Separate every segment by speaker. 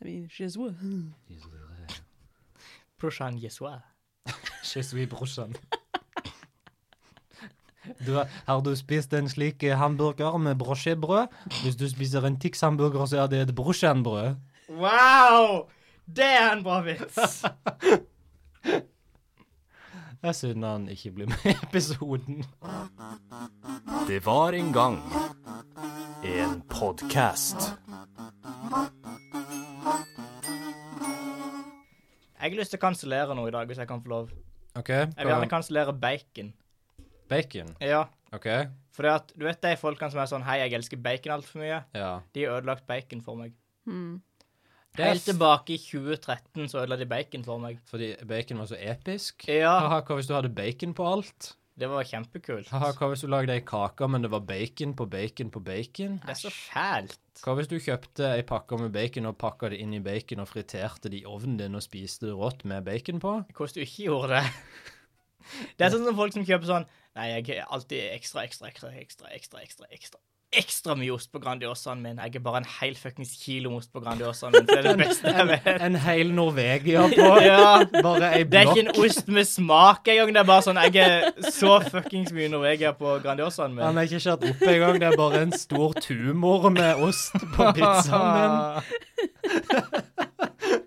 Speaker 1: I mean, she's what?
Speaker 2: Brorsan Jesua.
Speaker 3: Je suis brorsan. Du, har- har du spist en slik eh, hamburger med brosjebrød? Hvis du spiser en Tix-hamburger, så er det et brosjanbrød.
Speaker 2: Wow! Det er en bra vits!
Speaker 3: Jeg synd han ikke blir med i episoden.
Speaker 4: Det var en gang en podkast.
Speaker 2: Jeg har lyst til å kansellere noe i dag, hvis jeg kan få lov.
Speaker 3: OK.
Speaker 2: Jeg vil gjerne kansellere bacon.
Speaker 3: Bacon.
Speaker 2: Ja,
Speaker 3: OK.
Speaker 2: for det at, du vet de folkene som er sånn 'Hei, jeg elsker bacon altfor mye'.
Speaker 3: Ja.
Speaker 2: De har ødelagt bacon for meg.
Speaker 1: Hmm.
Speaker 3: Det er
Speaker 2: Helt tilbake i 2013 så ødela de bacon for meg.
Speaker 3: fordi bacon var så episk.
Speaker 2: Ja,
Speaker 3: Haha, hva hvis du hadde bacon på alt?
Speaker 2: det var kjempekult.
Speaker 3: Haha, hva hvis du lagde ei kake, men det var bacon på bacon på bacon?
Speaker 2: Det er så fælt.
Speaker 3: Hva hvis du kjøpte ei pakke med bacon og pakka det inn i bacon og friterte det i ovnen din og spiste det rått med bacon på?
Speaker 2: Hvordan du ikke gjorde det. Det er sånn som folk som kjøper sånn Nei, jeg er alltid ekstra, ekstra, ekstra, ekstra, ekstra, ekstra, ekstra. Ekstra mye ost på Grandiosaen min. Jeg er bare en hel fuckings kilo med ost på Grandiosaen min. for Det er det beste jeg vet.
Speaker 3: En hel Norvegia på
Speaker 2: Ja,
Speaker 3: bare ei
Speaker 2: Det er ikke
Speaker 3: blokk.
Speaker 2: en ost med smak engang. Det er bare sånn Jeg er så fuckings mye Norvegia på Grandiosaen
Speaker 3: Han
Speaker 2: min.
Speaker 3: er ikke skjært opp engang, det er bare en stor tumor med ost på pizzaen din.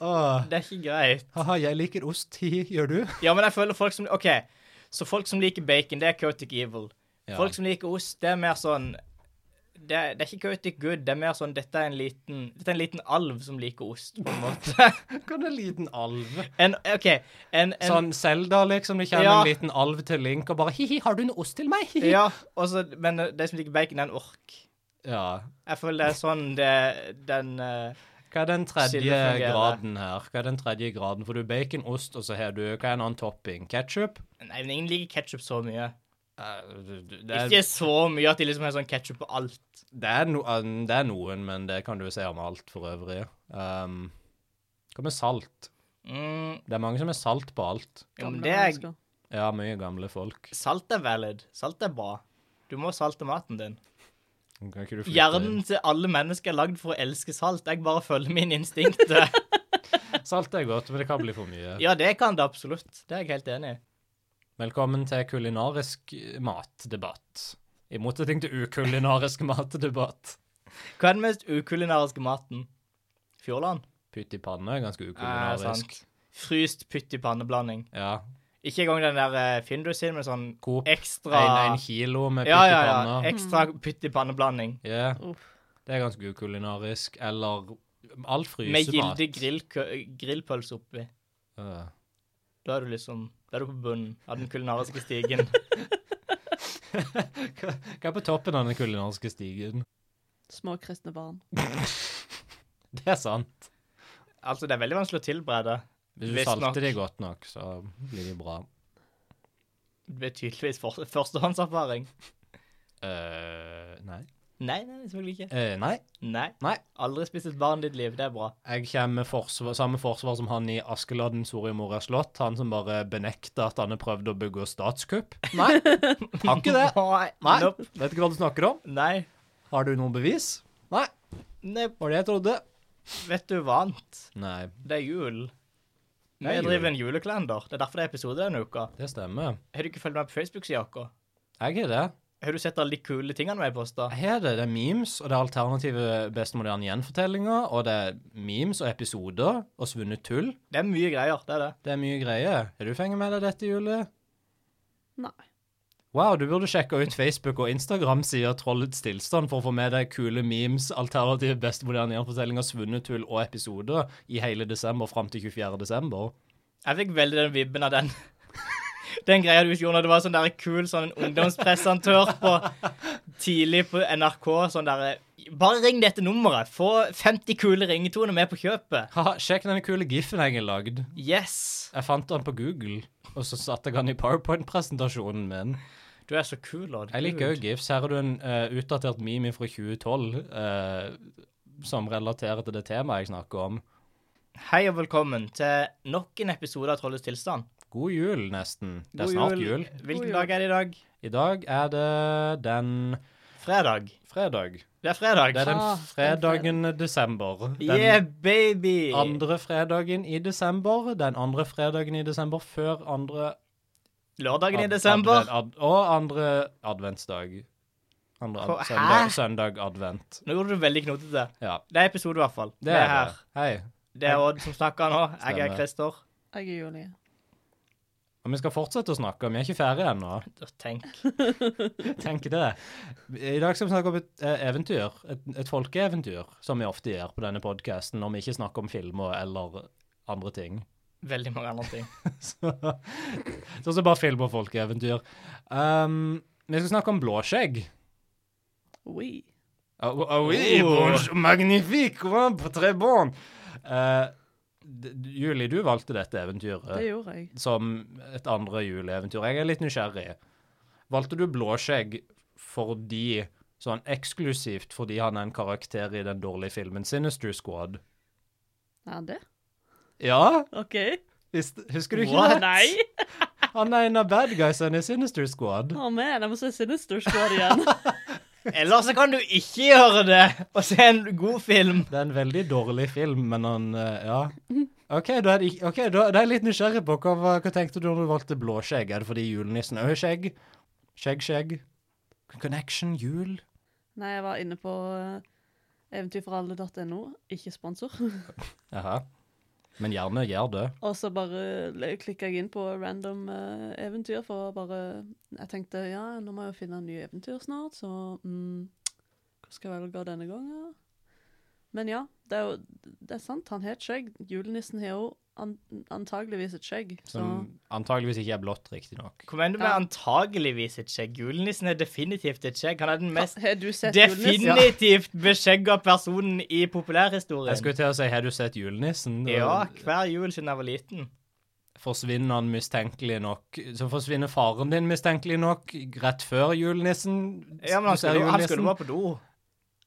Speaker 3: Åh.
Speaker 2: Det er ikke greit.
Speaker 3: Haha, jeg liker ost ti, gjør du?
Speaker 2: Ja, men jeg føler folk som OK, så folk som liker bacon, det er Cotic Evil.
Speaker 3: Ja.
Speaker 2: Folk som liker ost, det er mer sånn det, er- det er ikke Cotic Good, det er mer sånn Dette er en liten Dette er en liten alv som liker ost, på en måte.
Speaker 3: Kan en liten alv
Speaker 2: En, OK, en, en
Speaker 3: Sånn Selda, liksom. Det kommer
Speaker 2: Ja.
Speaker 3: en liten alv til Link og bare Hi-hi, har du en ost til meg? Hi-hi.
Speaker 2: Ja, og så Men de som liker bacon, det er en ork.
Speaker 3: ja.
Speaker 2: Jeg føler det er sånn det Den eh,
Speaker 3: Hva er den
Speaker 2: Silje
Speaker 3: tredje
Speaker 2: fungerer.
Speaker 3: graden her? Hva er den tredje graden? For du har bacon, ost, og så har du Hva er en annen topping? Ketchup?
Speaker 2: Nei, men ingen liker ketsjup så mye.
Speaker 3: Eh, Det
Speaker 2: Ikke
Speaker 3: er,
Speaker 2: så mye at de liksom har sånn ketsjup på alt.
Speaker 3: det, er no, eh, det er noen, men det kan du si om alt for øvrig. Um, hva med salt?
Speaker 2: Mm,
Speaker 3: Det er mange som er salt på alt.
Speaker 2: jo, men
Speaker 1: Gamle
Speaker 2: det er,
Speaker 1: mennesker.
Speaker 3: Ja, mye gamle folk.
Speaker 2: salt er valid. Salt er bra. Du må salte maten din.
Speaker 3: Kan ikke du flytte
Speaker 2: Hjernen til alle mennesker er lagd for å elske salt. Jeg bare følger min instinkter.
Speaker 3: inn? Salt er godt, men det kan bli for mye.
Speaker 2: Ja, det kan det absolutt. Det er jeg helt enig i.
Speaker 3: Velkommen til kulinarisk matdebatt. I motsetning til ukulinarisk matdebatt.
Speaker 2: Hva er den mest ukulinariske maten? Fjordland?
Speaker 3: Pytt i panne er ganske
Speaker 2: Eh,
Speaker 3: ukulinarisk.
Speaker 2: sant. Fryst pytt i panneblanding.
Speaker 3: ja.
Speaker 2: Ikke engang den der eh, Findus sin med sånn
Speaker 3: Coop.
Speaker 2: ekstra
Speaker 3: En, en kilo med pytt
Speaker 2: Ja, ja,
Speaker 3: i
Speaker 2: ja.
Speaker 3: panne.
Speaker 2: Ekstra pytt i panneblanding.
Speaker 3: Ja.
Speaker 1: Uff.
Speaker 3: Det er ganske ukulinarisk. Eller all
Speaker 2: Med
Speaker 3: frysemat.
Speaker 2: gilde grillkø- grillpølse oppi.
Speaker 3: Øh.
Speaker 2: Da er du liksom Da er du på bunnen av den kulinariske stigen.
Speaker 3: Hva er på toppen av den kulinariske stigen?
Speaker 1: Små kristne barn.
Speaker 3: Det er sant.
Speaker 2: altså, det er veldig vanskelig å tilberede.
Speaker 3: Hvis du
Speaker 2: Visst nok.
Speaker 3: salter de godt nok, så blir de bra.
Speaker 2: Det blir tydeligvis for, førstehåndserfaring.
Speaker 3: Eh, nei.
Speaker 2: Nei, nei, selvfølgelig ikke.
Speaker 3: Eh, nei.
Speaker 2: Nei.
Speaker 3: Nei.
Speaker 2: Aldri spist et barn i ditt liv. Det er bra.
Speaker 3: Jeg kommer med forsvar, samme forsvar som han i Askeladden Soria Moria slott. Han som bare benekter at han har prøvd å begå statskupp. Nei, har ikke det.
Speaker 2: Nei.
Speaker 3: Nei,
Speaker 2: Nope.
Speaker 3: Vet ikke hva du snakker om.
Speaker 2: Nei.
Speaker 3: Har du noe bevis? Nei,
Speaker 2: Nei.
Speaker 3: var det jeg trodde.
Speaker 2: Vet du hva annet?
Speaker 3: Nei,
Speaker 2: Det er jul.
Speaker 3: Det
Speaker 2: Vi
Speaker 3: er jul.
Speaker 2: driver en julekalender. Det er derfor det er episode denne uka.
Speaker 3: det stemmer.
Speaker 2: Har du ikke fulgt med på Facebook, sier dere?
Speaker 3: Jeg har det.
Speaker 2: Har du sett alle de kule tingene vi har posta?
Speaker 3: Jeg har det. Det er memes, og det er alternative best moderne gjenfortellinger, og det er memes og episoder og svunnet tull.
Speaker 2: Det er mye greier. det er det.
Speaker 3: Det er mye greier. Er du fenget med deg dette, Julie?
Speaker 1: Nei.
Speaker 3: Wow, du burde sjekke ut Facebook og Instagram-sida Trollets tilstand for å få med deg kule memes, alternative beste moderne gjenfortellinger, svunnet tull og episoder i hele desember fram til 24. desember.
Speaker 2: Jeg fikk veldig den vibben av den. Den greia du gjorde når det var sånn der kul sånn en ungdomspresentør på tidlig på NRK. Sånn der Bare ring dette nummeret. Få 50 kule ringetoner med på kjøpet.
Speaker 3: Haha, sjekk denne kule giffen jeg har lagd.
Speaker 2: Yes!
Speaker 3: Jeg fant den på Google, og så satte jeg den i PowerPoint-presentasjonen min.
Speaker 2: Du er så kul, Odd.
Speaker 3: Jeg liker
Speaker 2: Gud.
Speaker 3: òg gifs. Her er du en eh, utdatert meme fra 2012 eh, som relaterer til det temaet jeg snakker om.
Speaker 2: Hei og velkommen til nok en episode av Trollets tilstand.
Speaker 3: God jul, nesten. Det
Speaker 2: God
Speaker 3: er snart jul.
Speaker 1: God
Speaker 2: Hvilken
Speaker 1: jul.
Speaker 2: dag er det i dag?
Speaker 3: I dag er det den
Speaker 2: Fredag.
Speaker 3: Fredag.
Speaker 2: Det er fredag.
Speaker 3: Det er den
Speaker 1: Ah,
Speaker 3: fredagen desember. Den
Speaker 2: yeah, baby!
Speaker 3: andre fredagen i desember. Den andre fredagen i desember før andre
Speaker 2: Lørdagen i
Speaker 3: ad-
Speaker 2: desember.
Speaker 3: advent- ad, Og andre adventsdag. Andre ad,
Speaker 2: Hva- hæ?
Speaker 3: søndag, søndag advent.
Speaker 2: Nå gjorde du veldig knotete.
Speaker 3: Ja.
Speaker 2: Det er episode, i hvert fall.
Speaker 3: Det er her. Hei.
Speaker 2: Det er Odd som snakker nå. Jeg er
Speaker 3: Stemmer.
Speaker 2: Christer.
Speaker 1: Jeg er Julie.
Speaker 3: Og vi skal fortsette å snakke. Vi er ikke ferdige ennå.
Speaker 2: Tenk.
Speaker 3: Tenk det. I dag skal vi snakke om et eh, eventyr. Et, et folkeeventyr, som vi ofte gjør på denne podkasten når vi ikke snakker om filmer eller andre ting.
Speaker 2: Veldig mange andre ting.
Speaker 3: Så sånn som bare film og folkeeventyr. Um, vi skal snakke om blåskjegg.
Speaker 1: Oui.
Speaker 3: Oh, oh, oui,
Speaker 2: Oh.
Speaker 3: bonjour, magnifique, ouais, très bon. Eh, d- Julie, du valgte dette
Speaker 1: Det
Speaker 3: eventyret
Speaker 1: gjorde jeg.
Speaker 3: som et andre juleeventyr. Jeg er litt nysgjerrig. Valgte du blåskjegg fordi Sånn eksklusivt fordi han er en karakter i den dårlige filmen Sinister Squad.
Speaker 1: Er han det?
Speaker 3: Ja,
Speaker 1: OK.
Speaker 3: visst- husker du ikke
Speaker 2: What?
Speaker 3: det?
Speaker 1: Nei!
Speaker 3: Han er en av bad guysene i Sinister Squad.
Speaker 1: Å, man, jeg må se Sinister Squad igjen.
Speaker 2: Eller så kan du ikke gjøre det og se en god film.
Speaker 3: Det er en veldig dårlig film, men han eh, Ja. OK, da er, det ikke- ok, da, da er jeg litt nysgjerrig på hva, hva, hva tenkte du når du valgte blåskjegg? Er det fordi julenissen òg har skjegg? Skjegg, skjegg? Connection, jul?
Speaker 1: Nei, jeg var inne på eh, eventyrforalle.no, ikke sponsor.
Speaker 3: Jaha. Men gjerne gjør det.
Speaker 1: Og så bare le- klikket jeg inn på random eh, eventyr, for å bare Jeg tenkte ja, nå må jeg jo finne en ny eventyr snart, så mm, hva skal jeg velge denne gangen? Men ja, det er jo det er sant, han har et skjegg. Julenissen har jo an antageligvis et skjegg. Så
Speaker 3: Som antageligvis ikke er blått, riktignok.
Speaker 2: Kom igjen, du med
Speaker 1: Ja.
Speaker 2: antageligvis et skjegg. Julenissen er definitivt et skjegg. Han er den mest
Speaker 1: har du sett julenissen?
Speaker 2: definitivt beskjegga personen i
Speaker 3: Jeg
Speaker 2: populærhistorien.
Speaker 3: skulle til å si, har du sett julenissen?
Speaker 2: Ja, hver jul siden jeg var liten.
Speaker 3: Forsvinner han mistenkelig nok? Så forsvinner faren din mistenkelig nok rett før julenissen?
Speaker 2: Ja, men han
Speaker 3: ser
Speaker 2: skulle, han
Speaker 3: julenissen.
Speaker 2: skulle bare på do.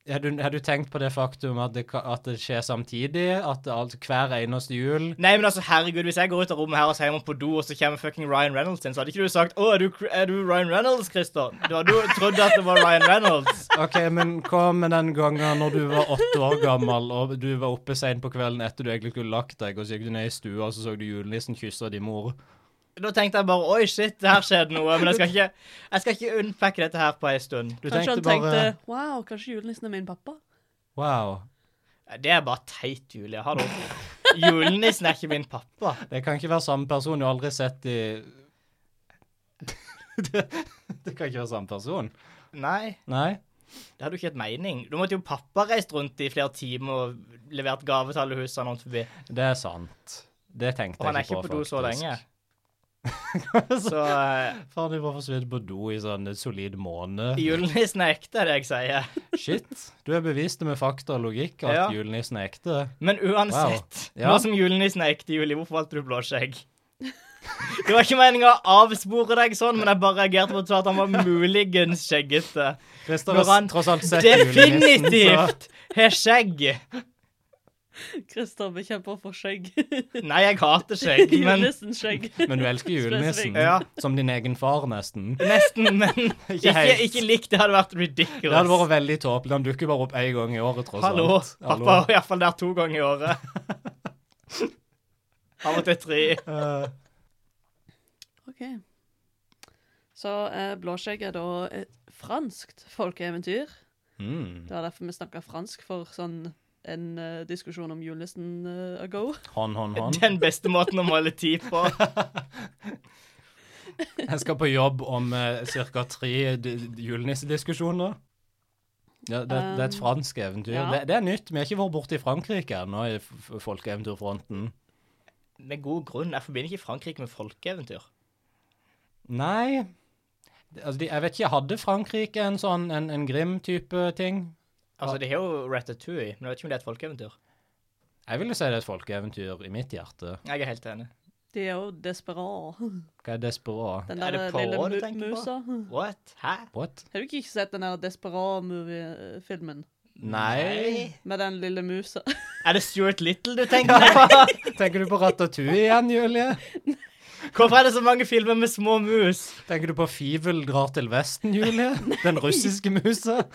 Speaker 3: Har du, har du tenkt på det faktum at det, ka- at det skjer samtidig? At det alt, hver eneste jul
Speaker 2: Nei, men altså, herregud, hvis jeg går ut av rommet her og sier jeg må på do, og så kommer fucking Ryan Reynolds inn, så hadde ikke du sagt 'Å, er du, er du Ryan Reynolds, Christer?' Du hadde jo trodd at det var Ryan Reynolds.
Speaker 3: OK, men hva med den gangen når du var åtte år gammel og du var oppe seint på kvelden etter du egentlig skulle lagt deg, og så gikk du ned i stua og så så du julenissen kysse din mor?
Speaker 2: Da tenkte jeg bare 'Oi, shit, det her skjedde noe', men jeg skal ikke, jeg skal ikke unpakke dette her på ei stund.
Speaker 3: Du
Speaker 1: Kanskje han
Speaker 3: tenkte bare
Speaker 1: tenkte wow, kanskje julenissen er min pappa?
Speaker 3: Wow.
Speaker 2: Det er bare teit, Julie. Hallo. Julenissen er ikke min pappa.
Speaker 3: Det kan ikke være samme person. Du har aldri sett i det, det kan ikke være samme person.
Speaker 2: Nei,
Speaker 3: Nei?
Speaker 2: det hadde jo ikke hatt mening. Da måtte jo pappa reist rundt i flere timer og levert gave til alle husene rundt forbi.
Speaker 3: Det er sant. Det tenkte
Speaker 2: Og han er
Speaker 3: jeg
Speaker 2: ikke
Speaker 3: ikke
Speaker 2: på
Speaker 3: på,
Speaker 2: do så lenge.
Speaker 3: faktisk.
Speaker 2: Så eh,
Speaker 3: Faen, du var forsvunnet på do i sånn en solid måned.
Speaker 2: julenissen er ekte, er det jeg sier.
Speaker 3: Shit. Du har bevist det med fakta og logikk at
Speaker 2: Ja.
Speaker 3: julenissen er ekte.
Speaker 2: Men uansett,
Speaker 3: Wow. Ja.
Speaker 2: nå som julenissen er ekte juli, hvorfor valgte du blåskjegg? Det var ikke meninga å avspore deg sånn, men jeg bare reagerte på at du sa at han var muligens skjeggete.
Speaker 3: Christer
Speaker 2: Når
Speaker 3: har
Speaker 2: han
Speaker 3: tross alt sett julenissen, så
Speaker 2: Definitivt har skjegg.
Speaker 1: Christer bekjemper for skjegg.
Speaker 2: Nei, jeg hater skjegg, men
Speaker 1: Julenissens skjegg.
Speaker 3: Men du elsker julenissen.
Speaker 2: Ja.
Speaker 3: Som din egen far, nesten.
Speaker 2: Nesten, men ikke,
Speaker 3: helt.
Speaker 2: ikke lik. Det hadde vært
Speaker 3: Det
Speaker 2: ridiculous.
Speaker 3: hadde vært veldig tåpelig. Han dukker bare opp én gang i året, tross
Speaker 2: Hallo.
Speaker 3: alt.
Speaker 2: Pappa var iallfall der to ganger i året. Av og til tre.
Speaker 3: Eh,
Speaker 1: Ok. Så eh, Blåskjegg er da et franskt folkeeventyr.
Speaker 3: mm.
Speaker 1: Det var derfor vi snakka fransk for sånn en eh, diskusjon om julenissen eh, ago.
Speaker 3: Hånd, hånd, hånd.
Speaker 2: Den beste måten å måle tid på.
Speaker 3: Jeg skal på jobb om uh, ca. tre d- d- julenissediskusjoner. Ja, det, det er et
Speaker 1: Um,
Speaker 3: fransk eventyr.
Speaker 1: ja.
Speaker 3: Det, det er nytt. Vi har ikke vært borte i Frankrike ennå, i f- f- folkeeventyrfronten.
Speaker 2: Med god grunn. Jeg forbinder ikke Frankrike med folkeeventyr.
Speaker 3: Nei Det- altså, de, Jeg vet ikke, hadde Frankrike en sånn en, en Grim-type ting?
Speaker 2: Altså, de har jo Ratatouille, men jeg vet ikke om det er et folkeeventyr.
Speaker 3: Jeg vil jo si det er et folkeeventyr i mitt hjerte.
Speaker 2: Jeg er helt enig.
Speaker 1: De er jo desperat.
Speaker 3: Hva er desperat?
Speaker 1: Den
Speaker 2: Er
Speaker 1: der eh,
Speaker 2: det Poirot
Speaker 1: lille
Speaker 2: du
Speaker 1: mu
Speaker 2: tenker på?
Speaker 1: musa.
Speaker 2: What? Hæ?
Speaker 3: What?
Speaker 1: Har du ikke sett den der desperat-filmen?
Speaker 3: Nei
Speaker 1: Med den lille musa.
Speaker 2: Er det Stuart Little du tenker på?
Speaker 3: Tenker du på Ratatouille igjen, Julie?
Speaker 2: Hvorfor er det så mange filmer med små mus?
Speaker 3: Tenker du på Fivel drar til Vesten, Julie? Den russiske musa?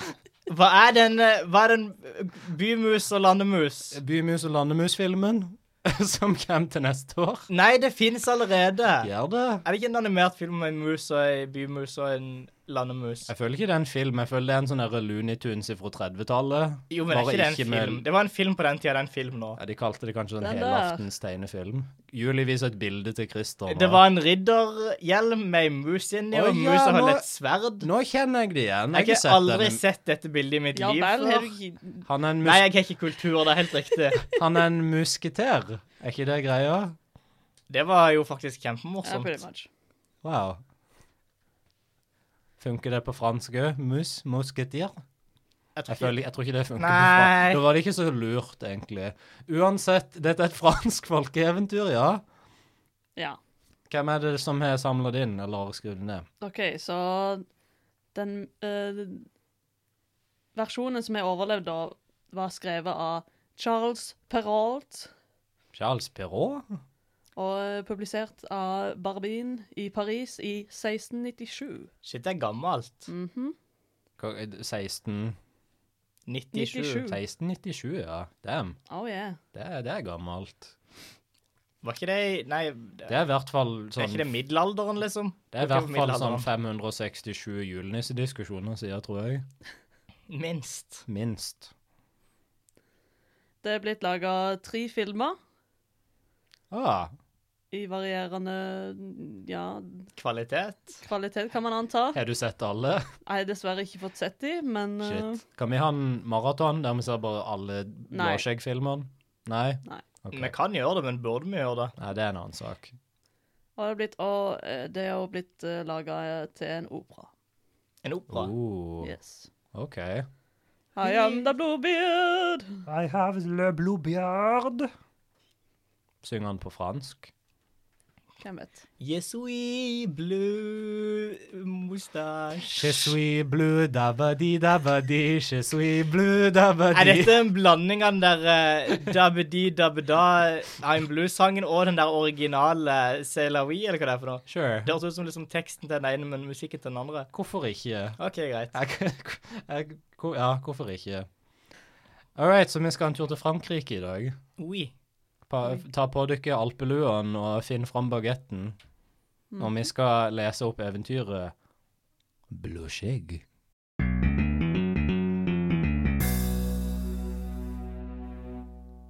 Speaker 2: Hva er den, eh, hva er den bymus og landemus?
Speaker 3: Eh, Bymus og landemus-filmen som kommer til neste år.
Speaker 2: Nei, det fins allerede.
Speaker 3: Gjør det.
Speaker 2: Er det ikke en animert film med en mus og en bymus og en landemus?
Speaker 3: Jeg føler ikke det er en film, jeg føler det er en sånn der Looney Tunes fra 30-tallet.
Speaker 2: Jo, men er
Speaker 3: Bare
Speaker 2: ikke det en
Speaker 3: med-
Speaker 2: film? Det var en film på den tida, det er en film nå.
Speaker 3: Ja, De kalte det kanskje en
Speaker 1: Den der.
Speaker 3: helaftens tegnefilm. Julie viser et bilde til Christer. nå.
Speaker 2: Det var en ridderhjelm med ei mus inni,
Speaker 3: Å,
Speaker 2: og
Speaker 3: ja,
Speaker 2: musa holdt
Speaker 3: nå-
Speaker 2: et sverd.
Speaker 3: Nå kjenner jeg det igjen.
Speaker 2: Jeg
Speaker 3: Jeg har
Speaker 2: har
Speaker 3: sett
Speaker 2: aldri
Speaker 3: denne-
Speaker 2: sett dette bildet i mitt
Speaker 1: Ja
Speaker 2: liv
Speaker 1: vel, har
Speaker 2: før.
Speaker 1: du ikke
Speaker 3: Han er en,
Speaker 2: Nei,
Speaker 3: mus
Speaker 2: jeg har ikke kultur, det er helt riktig.
Speaker 3: han er en musketer. Er ikke det greia?
Speaker 2: Det var jo faktisk
Speaker 1: Ja, pretty
Speaker 2: kjempemorsomt.
Speaker 1: much.
Speaker 3: Wow. Funker det på fransk òg? Mus? Musketer?
Speaker 2: Jeg
Speaker 3: Jeg,
Speaker 2: tror ikke-
Speaker 3: føler, jeg tror ikke det funker. på
Speaker 2: Nei.
Speaker 3: fransk. Da var det ikke så lurt, egentlig. Uansett, dette er et fransk folkeeventyr, ja.
Speaker 1: Ja.
Speaker 3: Hvem er det som har samla det inn, eller skrevet det ned?
Speaker 1: OK, så den eh, Versjonen som jeg overlevde av, var skrevet av Charles Perrault
Speaker 3: Charles Perrault?
Speaker 1: og eh, publisert av Barbin i Paris i 1697.
Speaker 2: Shit, det er gammelt.
Speaker 1: Mhm.
Speaker 3: Hva- eh, 16...
Speaker 2: 97.
Speaker 1: 97.
Speaker 3: 1697, ja. Damn.
Speaker 1: Oh yeah.
Speaker 3: Det er, det er gammelt.
Speaker 2: Var ikke det i- Nei, det
Speaker 3: Det er i hvert fall
Speaker 2: er
Speaker 3: sånn
Speaker 2: ikke det middelalderen, liksom?
Speaker 3: Det er i
Speaker 2: Ikke
Speaker 3: hvert fall sånn
Speaker 2: middelalderen.
Speaker 3: 567 julenissediskusjoner sier, tror jeg.
Speaker 2: Minst.
Speaker 3: Minst.
Speaker 1: Det er blitt laga tre filmer
Speaker 3: Ah,
Speaker 1: i varierende ja,
Speaker 2: Kvalitet.
Speaker 1: kvalitet, kan man anta.
Speaker 3: har du sett alle?
Speaker 1: Jeg har dessverre ikke fått sett de, men eh,
Speaker 3: Shit. Kan vi ha en maraton der vi ser bare alle
Speaker 1: Nei.
Speaker 3: blåskjeggfilmene? Nei?
Speaker 1: Nei.
Speaker 3: Ok.
Speaker 2: Vi kan gjøre det, men burde vi gjøre det?
Speaker 3: Nei, det er en annen sak.
Speaker 1: og det er blitt, og, eh, det er også blitt uh, laga til en opera.
Speaker 2: En opera.
Speaker 3: Oh,
Speaker 1: Yes.
Speaker 3: OK.
Speaker 1: I am the bluebeard.
Speaker 3: I have le bluebeard. Synger han på fransk?
Speaker 1: Hvem vet.
Speaker 2: Yes, we blue mm, mustache.
Speaker 3: Je suis blue dabadi dabadi, je suis blue dabadi.
Speaker 2: Er dette en blanding av den der eh, Dabedi Dabeda I'm Blue-sangen og den der originale C'est la vie, eller hva det er for noe?
Speaker 3: Sure.
Speaker 2: Det høres ut som liksom teksten til den ene, men musikken til den andre.
Speaker 3: Hvorfor ikke?
Speaker 2: OK, greit.
Speaker 3: Jeg, jeg, hvor- ja, hvorfor ikke? All right, så vi skal en tur til Frankrike i dag.
Speaker 2: Oui.
Speaker 3: Pa, ta på dere alpeluen og finn fram bagetten. Og
Speaker 2: Mhm.
Speaker 3: vi skal lese opp eventyret Blåskjegg.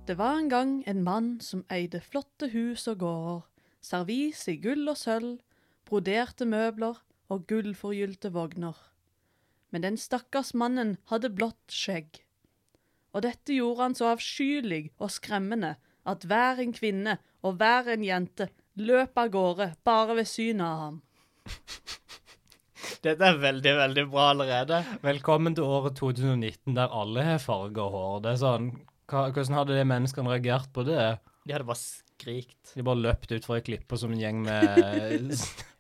Speaker 1: Det var en gang en mann som eide flotte hus og gårder, servis i gull og sølv, broderte møbler og gullforgylte vogner. Men den stakkars mannen hadde blått skjegg. Og dette gjorde han så avskyelig og skremmende at hver en kvinne og hver en jente løp av gårde bare ved synet av ham.
Speaker 2: Dette er veldig, veldig bra allerede.
Speaker 3: Velkommen til året 2019 der alle har farga hår. Det er sånn, hva, Hvordan hadde de menneskene reagert på det?
Speaker 2: De hadde bare skrikt.
Speaker 3: De bare løpt utfor ei klippe som en gjeng med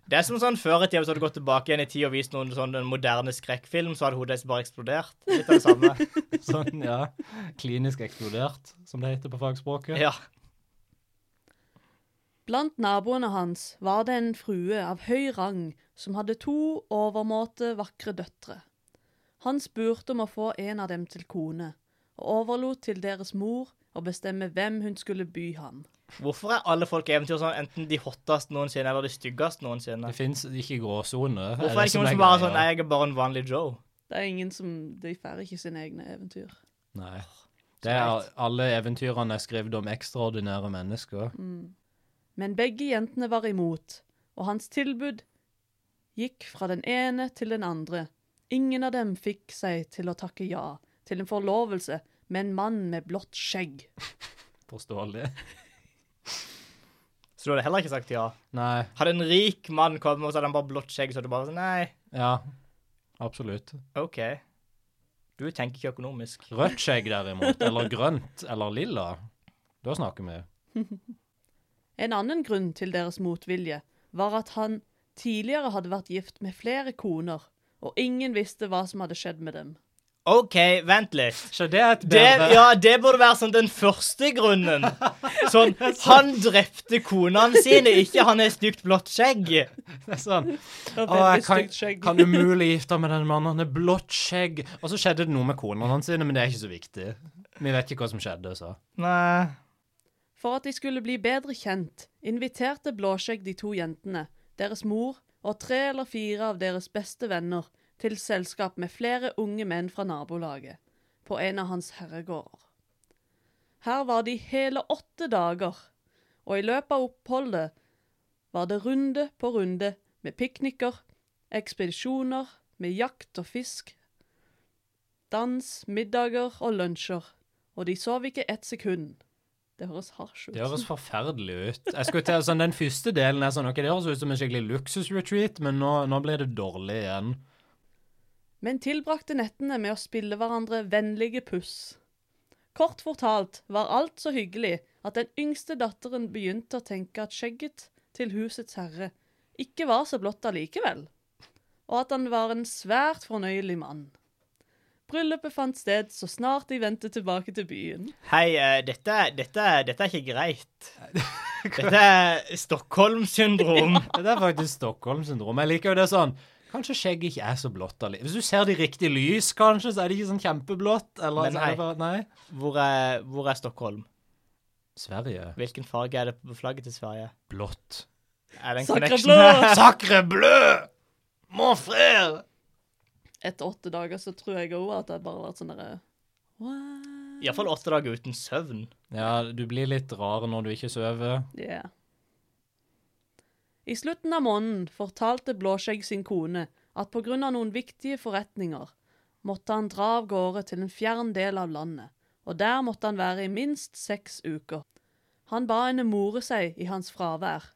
Speaker 2: Det er som sånn før i tida, hvis du hadde gått tilbake igjen i tid og vist noen sånn en moderne skrekkfilm, så hadde hodet deres bare eksplodert. Litt av det samme.
Speaker 3: sånn, ja, klinisk eksplodert, som det heter på fagspråket.
Speaker 2: Ja.
Speaker 1: Blant naboene hans var det en frue av høy rang som hadde to overmåte vakre døtre. Han spurte om å få en av dem til kone, og overlot til deres mor å bestemme hvem hun skulle by ham.
Speaker 2: Hvorfor er alle folk i eventyr sånn enten de hotteste noensinne eller de styggeste noensinne?
Speaker 3: Det fins ikke gråsone.
Speaker 2: Hvorfor er det ikke noen som bare er sånn Nei, jeg er bare en vanlig Joe.
Speaker 1: Det er ingen som De får ikke sine egne eventyr.
Speaker 3: Nei. Det er, alle eventyrene er skrevet om ekstraordinære mennesker.
Speaker 2: Mm.
Speaker 1: Men begge jentene var imot, og hans tilbud gikk fra den ene til den andre. Ingen av dem fikk seg til å takke ja til en forlovelse med en mann med blått skjegg.
Speaker 3: Forståelig.
Speaker 2: Så du hadde heller ikke sagt ja?
Speaker 3: Nei.
Speaker 2: Hadde en rik mann kommet og så hadde han bare blått skjegg, så hadde du bare sånn Nei,
Speaker 3: Ja. Absolutt.
Speaker 2: OK. Du tenker ikke økonomisk.
Speaker 3: Rødt skjegg, derimot, eller grønt, eller lilla, da snakker vi.
Speaker 1: En annen grunn til deres motvilje var at han tidligere hadde vært gift med flere koner, og ingen visste hva som hadde skjedd med dem.
Speaker 2: OK, vent litt.
Speaker 3: Så det er et
Speaker 2: Det,
Speaker 3: bedre
Speaker 2: ja, det burde være sånn den første grunnen. Sånn Han drepte konene sine, ikke han har stygt blått skjegg.
Speaker 3: Det er sånn.
Speaker 1: Det
Speaker 3: Å,
Speaker 1: var
Speaker 3: jeg
Speaker 1: veldig
Speaker 3: kan,
Speaker 1: stygt skjegg.
Speaker 3: kan umulig gifte meg med den mannen. Han har blått skjegg. Og så skjedde det noe med konene hans, sine, men det er ikke så viktig. Vi vet ikke hva som skjedde, så.
Speaker 2: Nei.
Speaker 1: For at de skulle bli bedre kjent, inviterte Blåskjegg de to jentene, deres mor og tre eller fire av deres beste venner til selskap med flere unge menn fra nabolaget, på en av hans herregårder. Her var de hele åtte dager, og i løpet av oppholdet var det runde på runde med pikniker, ekspedisjoner med jakt og fisk, dans, middager og lunsjer, og de sov ikke ett sekund. Det høres hardt ut.
Speaker 3: Det høres forferdelig ut. Jeg skulle til å- sånn, Den første delen er sånn, ok, det høres ut som en skikkelig luksusretreat, men nå, nå blir det dårlig igjen.
Speaker 1: men tilbrakte nettene med å spille hverandre vennlige puss. Kort fortalt var alt så hyggelig at den yngste datteren begynte å tenke at skjegget til husets herre ikke var så blått allikevel, og at han var en svært fornøyelig mann. Bryllupet fant sted så snart de vendte tilbake til byen.
Speaker 2: Hei, eh, dette, dette, dette er ikke greit. Dette er Stockholm-syndrom.
Speaker 3: Det er faktisk Stockholm-syndrom. Jeg liker jo det sånn, kanskje skjegget ikke er så blått alli- Hvis du ser det i riktig lys, kanskje, så er det ikke sånn kjempeblått, eller
Speaker 2: Men
Speaker 3: så er det
Speaker 2: hei.
Speaker 3: bare, nei.
Speaker 2: Hvor, er- hvor er Stockholm?
Speaker 3: Sverige.
Speaker 2: Hvilken farge er det på flagget til Sverige?
Speaker 3: Blått.
Speaker 2: Er det en
Speaker 1: Sakre
Speaker 2: connection
Speaker 1: blå!
Speaker 2: her?
Speaker 3: Sacre bleu! Mon frère!
Speaker 1: Etter åtte dager så tror jeg òg at det bare har vært sånn derre What?
Speaker 2: Iallfall åtte dager uten søvn.
Speaker 3: Ja, du blir litt rar når du ikke sover.
Speaker 1: Ja. I slutten av måneden fortalte Blåskjegg sin kone at pga. noen viktige forretninger måtte han dra av gårde til en fjern del av landet, og der måtte han være i minst seks uker. Han ba henne more seg i hans fravær,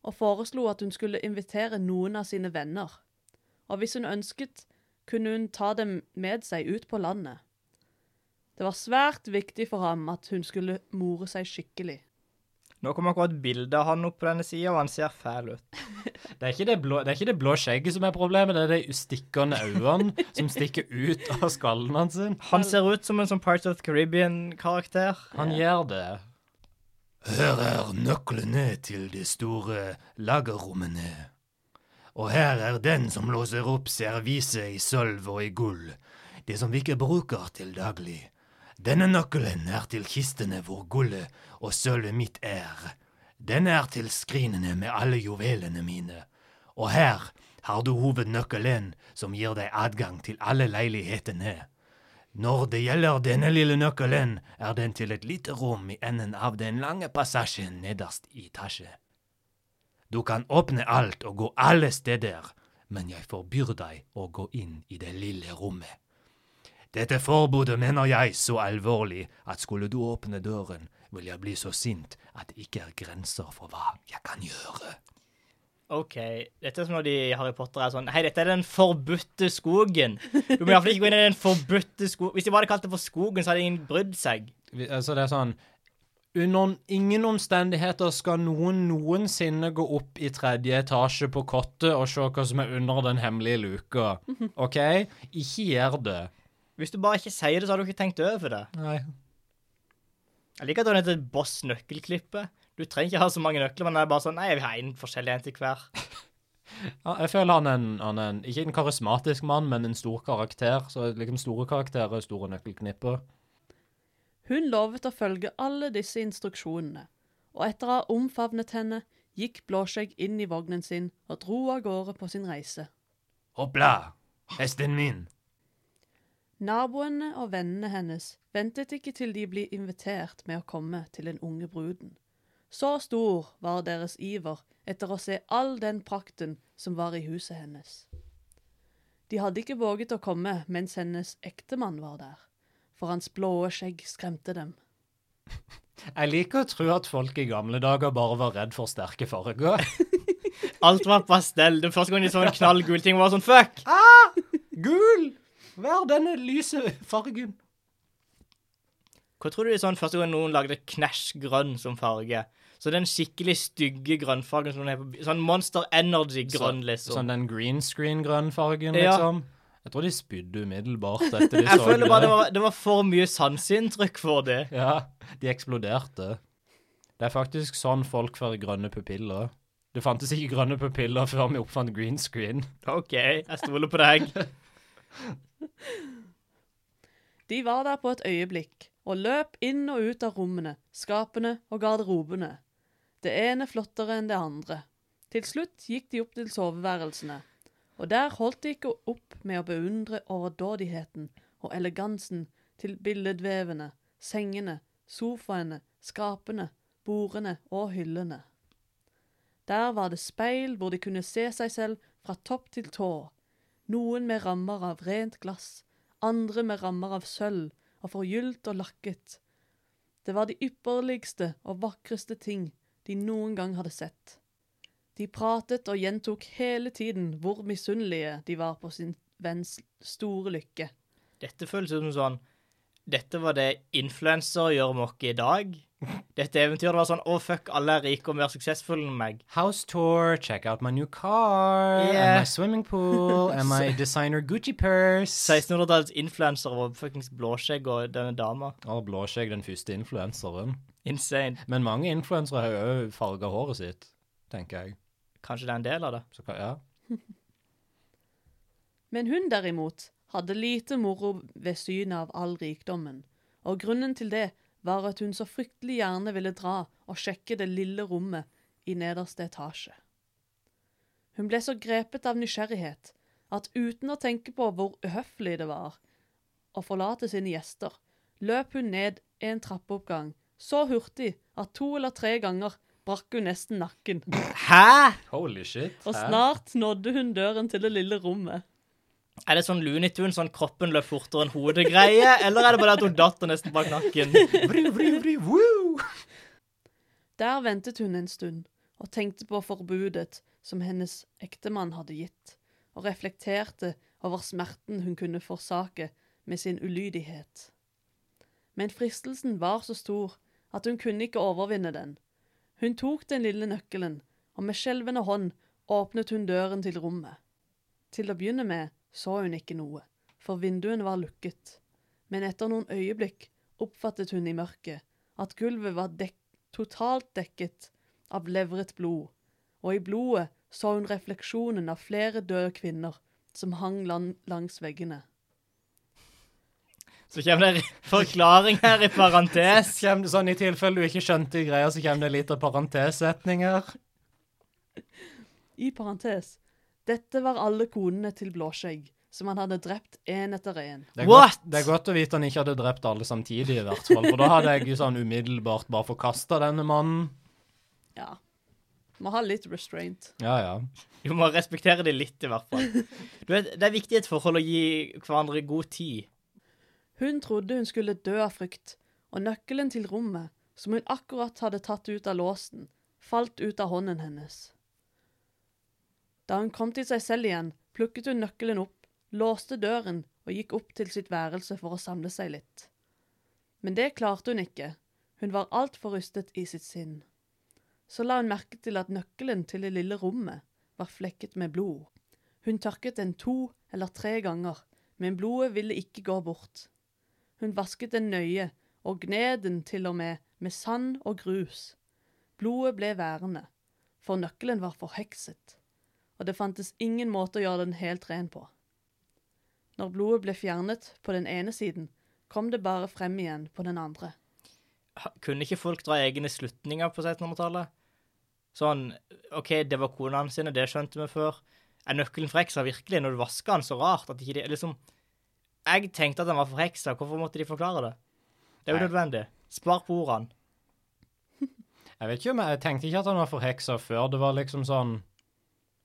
Speaker 1: og foreslo at hun skulle invitere noen av sine venner. Og hvis hun ønsket, kunne hun ta dem med seg ut på landet. Det var svært viktig for ham at hun skulle more seg skikkelig.
Speaker 2: Nå kommer akkurat bildet av han opp på denne sida, og han ser fæl ut.
Speaker 3: Det er, ikke det, blå, det er ikke det blå skjegget som er problemet, det er de stikkende øynene som stikker ut av skallen hans. sin.
Speaker 2: Han ser ut som en sånn Parts of the Caribbean-karakter.
Speaker 3: Han gjør det.
Speaker 4: Her er nøklene til de store lagerrommene. Og her er den som låser opp serviset i sølv og i gull, det som vi ikke bruker til daglig. Denne nøkkelen er til kistene hvor gullet og sølvet mitt er. Den er til skrinene med alle juvelene mine. Og her har du hovednøkkelen som gir deg adgang til alle leilighetene. Når det gjelder denne lille nøkkelen, er den til et lite rom i enden av den lange passasjen nederst i etasje. Du kan åpne alt og gå alle steder, men jeg forbyr deg å gå inn i det lille rommet. Dette forbudet mener jeg så alvorlig at skulle du åpne døren, vil jeg bli så sint at det ikke er grenser for hva jeg kan gjøre.
Speaker 2: OK. Dette er som når de i Harry Potter er sånn Hei, dette er den forbudte skogen. Du må iallfall ikke gå inn i den forbudte skogen. Hvis de bare hadde kalt det for skogen, så hadde ingen brydd seg.
Speaker 3: Vi- Altså, det er sånn Under ingen omstendigheter skal noen noensinne gå opp i tredje etasje på kottet og se hva som er under den hemmelige luka. OK? Ikke gjør det.
Speaker 2: Hvis du bare ikke sier det, så har du ikke tenkt over det.
Speaker 3: Nei.
Speaker 2: Jeg liker at han heter Boss Nøkkelklippe. Du trenger ikke ha så mange nøkler, men det er bare sånn Nei, jeg vil ha en forskjellig en til hver.
Speaker 3: Ja, Jeg føler han er, en, han er en, ikke en karismatisk mann, men en stor karakter. Så liksom store karakterer er store nøkkelknipper.
Speaker 1: Hun lovet å følge alle disse instruksjonene, og etter å ha omfavnet henne, gikk Blåskjegg inn i vognen sin og dro av gårde på sin reise.
Speaker 4: Hoppla, hesten min.
Speaker 1: Naboene og vennene hennes ventet ikke til de ble invitert med å komme til den unge bruden. Så stor var deres iver etter å se all den prakten som var i huset hennes. De hadde ikke våget å komme mens hennes ektemann var der, for hans blåe skjegg skremte dem.
Speaker 3: Jeg liker å tro at folk i gamle dager bare var redd for sterke farger.
Speaker 2: Alt var pastell. Det første gang de så en knallgul ting, var sånn Fuck!
Speaker 3: Gul! Hver denne lyse fargen.
Speaker 2: Hva tror du er sånn første gang noen lagde knæsj grønn som farge? Så den skikkelig stygge grønnfargen som den er på Sånn Monster Energy-grønn,
Speaker 3: Sånn
Speaker 2: liksom.
Speaker 3: den green screen-grønn fargen,
Speaker 2: Ja.
Speaker 3: liksom. Jeg tror de spydde umiddelbart etter de så
Speaker 2: Jeg føler bare det var, det var for mye sanseinntrykk for det.
Speaker 3: Ja, de eksploderte. Det er faktisk sånn folk får grønne pupiller. Det fantes ikke grønne pupiller før vi oppfant green screen.
Speaker 2: OK, jeg stoler på deg.
Speaker 1: De var der på et øyeblikk og løp inn og ut av rommene, skapene og garderobene. Det ene flottere enn det andre. Til slutt gikk de opp til soveværelsene, og der holdt de ikke opp med å beundre overdådigheten og elegansen til billedvevene, sengene, sofaene, skapene, bordene og hyllene. Der var det speil hvor de kunne se seg selv fra topp til tå, noen med rammer av rent glass, andre med rammer av sølv og forgylt og lakket. Det var de ypperligste og vakreste ting de noen gang hadde sett. De pratet og gjentok hele tiden hvor misunnelige de var på sin venns store lykke.
Speaker 2: Dette føles som sånn Dette var det influensere gjør mokke i dag. Dette eventyret var sånn Å, fuck, alle er rike og mer suksessfulle enn meg.
Speaker 3: House tour, check out my new car,
Speaker 2: Yeah.
Speaker 3: and my swimming pool, and my designer Gucci purse.
Speaker 2: 1600-tallets influensere var fuckings blåskjegg og denne dama.
Speaker 3: Har blåskjegg den første influenseren.
Speaker 2: Insane.
Speaker 3: Men mange influensere har jo også farga håret sitt, tenker jeg.
Speaker 2: Kanskje det er en del av det.
Speaker 3: Så hva- ja.
Speaker 1: Men hun derimot hadde lite moro ved synet av all rikdommen, og grunnen til det var at hun så fryktelig gjerne ville dra og sjekke det lille rommet i nederste etasje. Hun ble så grepet av nysgjerrighet at uten å tenke på hvor uhøflig det var å forlate sine gjester, løp hun ned en trappeoppgang så hurtig at to eller tre ganger brakk hun nesten nakken,
Speaker 2: Hæ?!
Speaker 3: Holy shit.
Speaker 1: og
Speaker 3: hæ?
Speaker 1: snart nådde hun døren til det lille rommet.
Speaker 2: Er det sånn Looney Tunes, sånn kroppen løp fortere enn hodet-greie? Eller er det bare det at hun datt og nesten bak nakken?
Speaker 3: Vri, vri, vri, woo!
Speaker 1: Der ventet hun en stund og tenkte på forbudet som hennes ektemann hadde gitt, og reflekterte over smerten hun kunne forsake med sin ulydighet. Men fristelsen var så stor at hun kunne ikke overvinne den. Hun tok den lille nøkkelen, og med skjelvende hånd åpnet hun døren til rommet. Til å begynne med så hun ikke noe, for vinduene var lukket, men etter noen øyeblikk oppfattet hun i mørket at gulvet var dekket totalt dekket av levret blod, og i blodet så hun refleksjonen av flere døde kvinner som hang lan langs veggene.
Speaker 2: Så kommer det en forklaring her i parentes.
Speaker 3: Kjem det sånn I tilfelle du ikke skjønte greia, så kommer det litt av parentessetninger.
Speaker 1: I parentes, dette var alle konene til Blåskjegg, som han hadde drept én etter én.
Speaker 3: Det er,
Speaker 2: What?
Speaker 3: Godt, det er godt å vite han ikke hadde drept alle samtidig, i hvert fall. For da hadde jeg sånn umiddelbart bare forkasta denne mannen.
Speaker 1: Ja. Må ha litt restraint.
Speaker 3: Ja, ja.
Speaker 2: Du må respektere det litt, i hvert fall. Du vet, Det er viktig i et forhold å gi hverandre god tid.
Speaker 1: Hun trodde hun skulle dø av frykt, og nøkkelen til rommet, som hun akkurat hadde tatt ut av låsen, falt ut av hånden hennes. Da hun kom til seg selv igjen, plukket hun nøkkelen opp, låste døren og gikk opp til sitt værelse for å samle seg litt. Men det klarte hun ikke, hun var altfor rystet i sitt sinn. Så la hun merke til at nøkkelen til det lille rommet var flekket med blod. Hun tørket den to eller tre ganger, men blodet ville ikke gå bort. Hun vasket den nøye, og gned den til og med med sand og grus. Blodet ble værende, for nøkkelen var forhekset, og det fantes ingen måte å gjøre den helt ren på. Når blodet ble fjernet på den ene siden, kom det bare frem igjen på den andre.
Speaker 2: Ha- Kunne ikke folk dra egne slutninger på 1600-tallet? Sånn OK, det var konene sine, det skjønte vi før. Er nøkkelen forheksa virkelig når du vasker den så rart at ikke de liksom Jeg tenkte at den var forheksa, hvorfor måtte de forklare det? Det er jo
Speaker 3: Nei.
Speaker 2: nødvendig. Spar på ordene.
Speaker 3: Jeg vet ikke om jeg, jeg tenkte ikke at han var forheksa før. Det var liksom sånn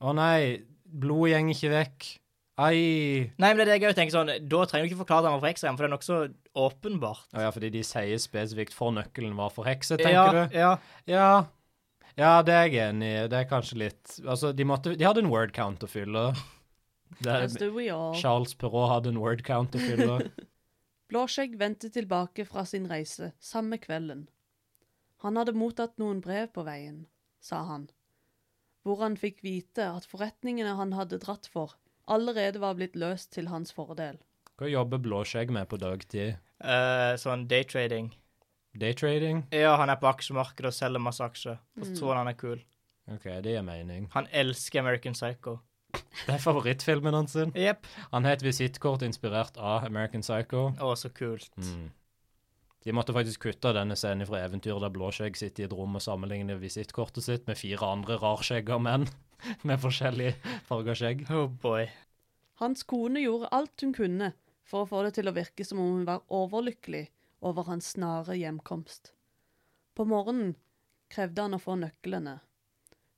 Speaker 3: Å nei, blodet går ikke vekk. Ai.
Speaker 2: Nei, men det er det jeg òg tenker sånn, da trenger du ikke forklare at den var forheksa, for det er nokså åpenbart.
Speaker 3: Å ja, fordi de sier spesifikt for nøkkelen var forhekset,
Speaker 2: ja,
Speaker 3: tenker du?
Speaker 2: Ja.
Speaker 3: Ja. Ja, det er jeg enig i. Det er kanskje litt Altså, de måtte De hadde en word count å fylle. Det er,
Speaker 1: As do we all.
Speaker 3: Charles Perrault hadde en word count å fylle.
Speaker 1: Blåskjegg vendte tilbake fra sin reise samme kvelden. Han hadde mottatt noen brev på veien, sa han, hvor han fikk vite at forretningene han hadde dratt for, allerede var blitt løst til hans fordel.
Speaker 5: Hva jobber Blåskjegg med på dagtid?
Speaker 4: Eh, sånn daytrading.
Speaker 5: Daytrading?
Speaker 4: Ja, han er på aksjemarkedet og selger masse aksjer. Og så tror han han er kul.
Speaker 5: OK, det gir mening.
Speaker 4: Han elsker American Psycho.
Speaker 5: Det er favorittfilmen hans. sin.
Speaker 4: Jepp.
Speaker 5: Han het Visittkort inspirert av American Psycho.
Speaker 4: Å, så kult.
Speaker 5: Mm. De måtte faktisk kutte denne scenen fra eventyret der Blåskjegg sitter i et rom og sammenligner visittkortet sitt med fire andre rarskjegga menn med forskjellig farga skjegg.
Speaker 4: Oh boy.
Speaker 1: Hans kone gjorde alt hun kunne for å få det til å virke som om hun var overlykkelig over hans snare hjemkomst. På morgenen krevde han å få nøklene.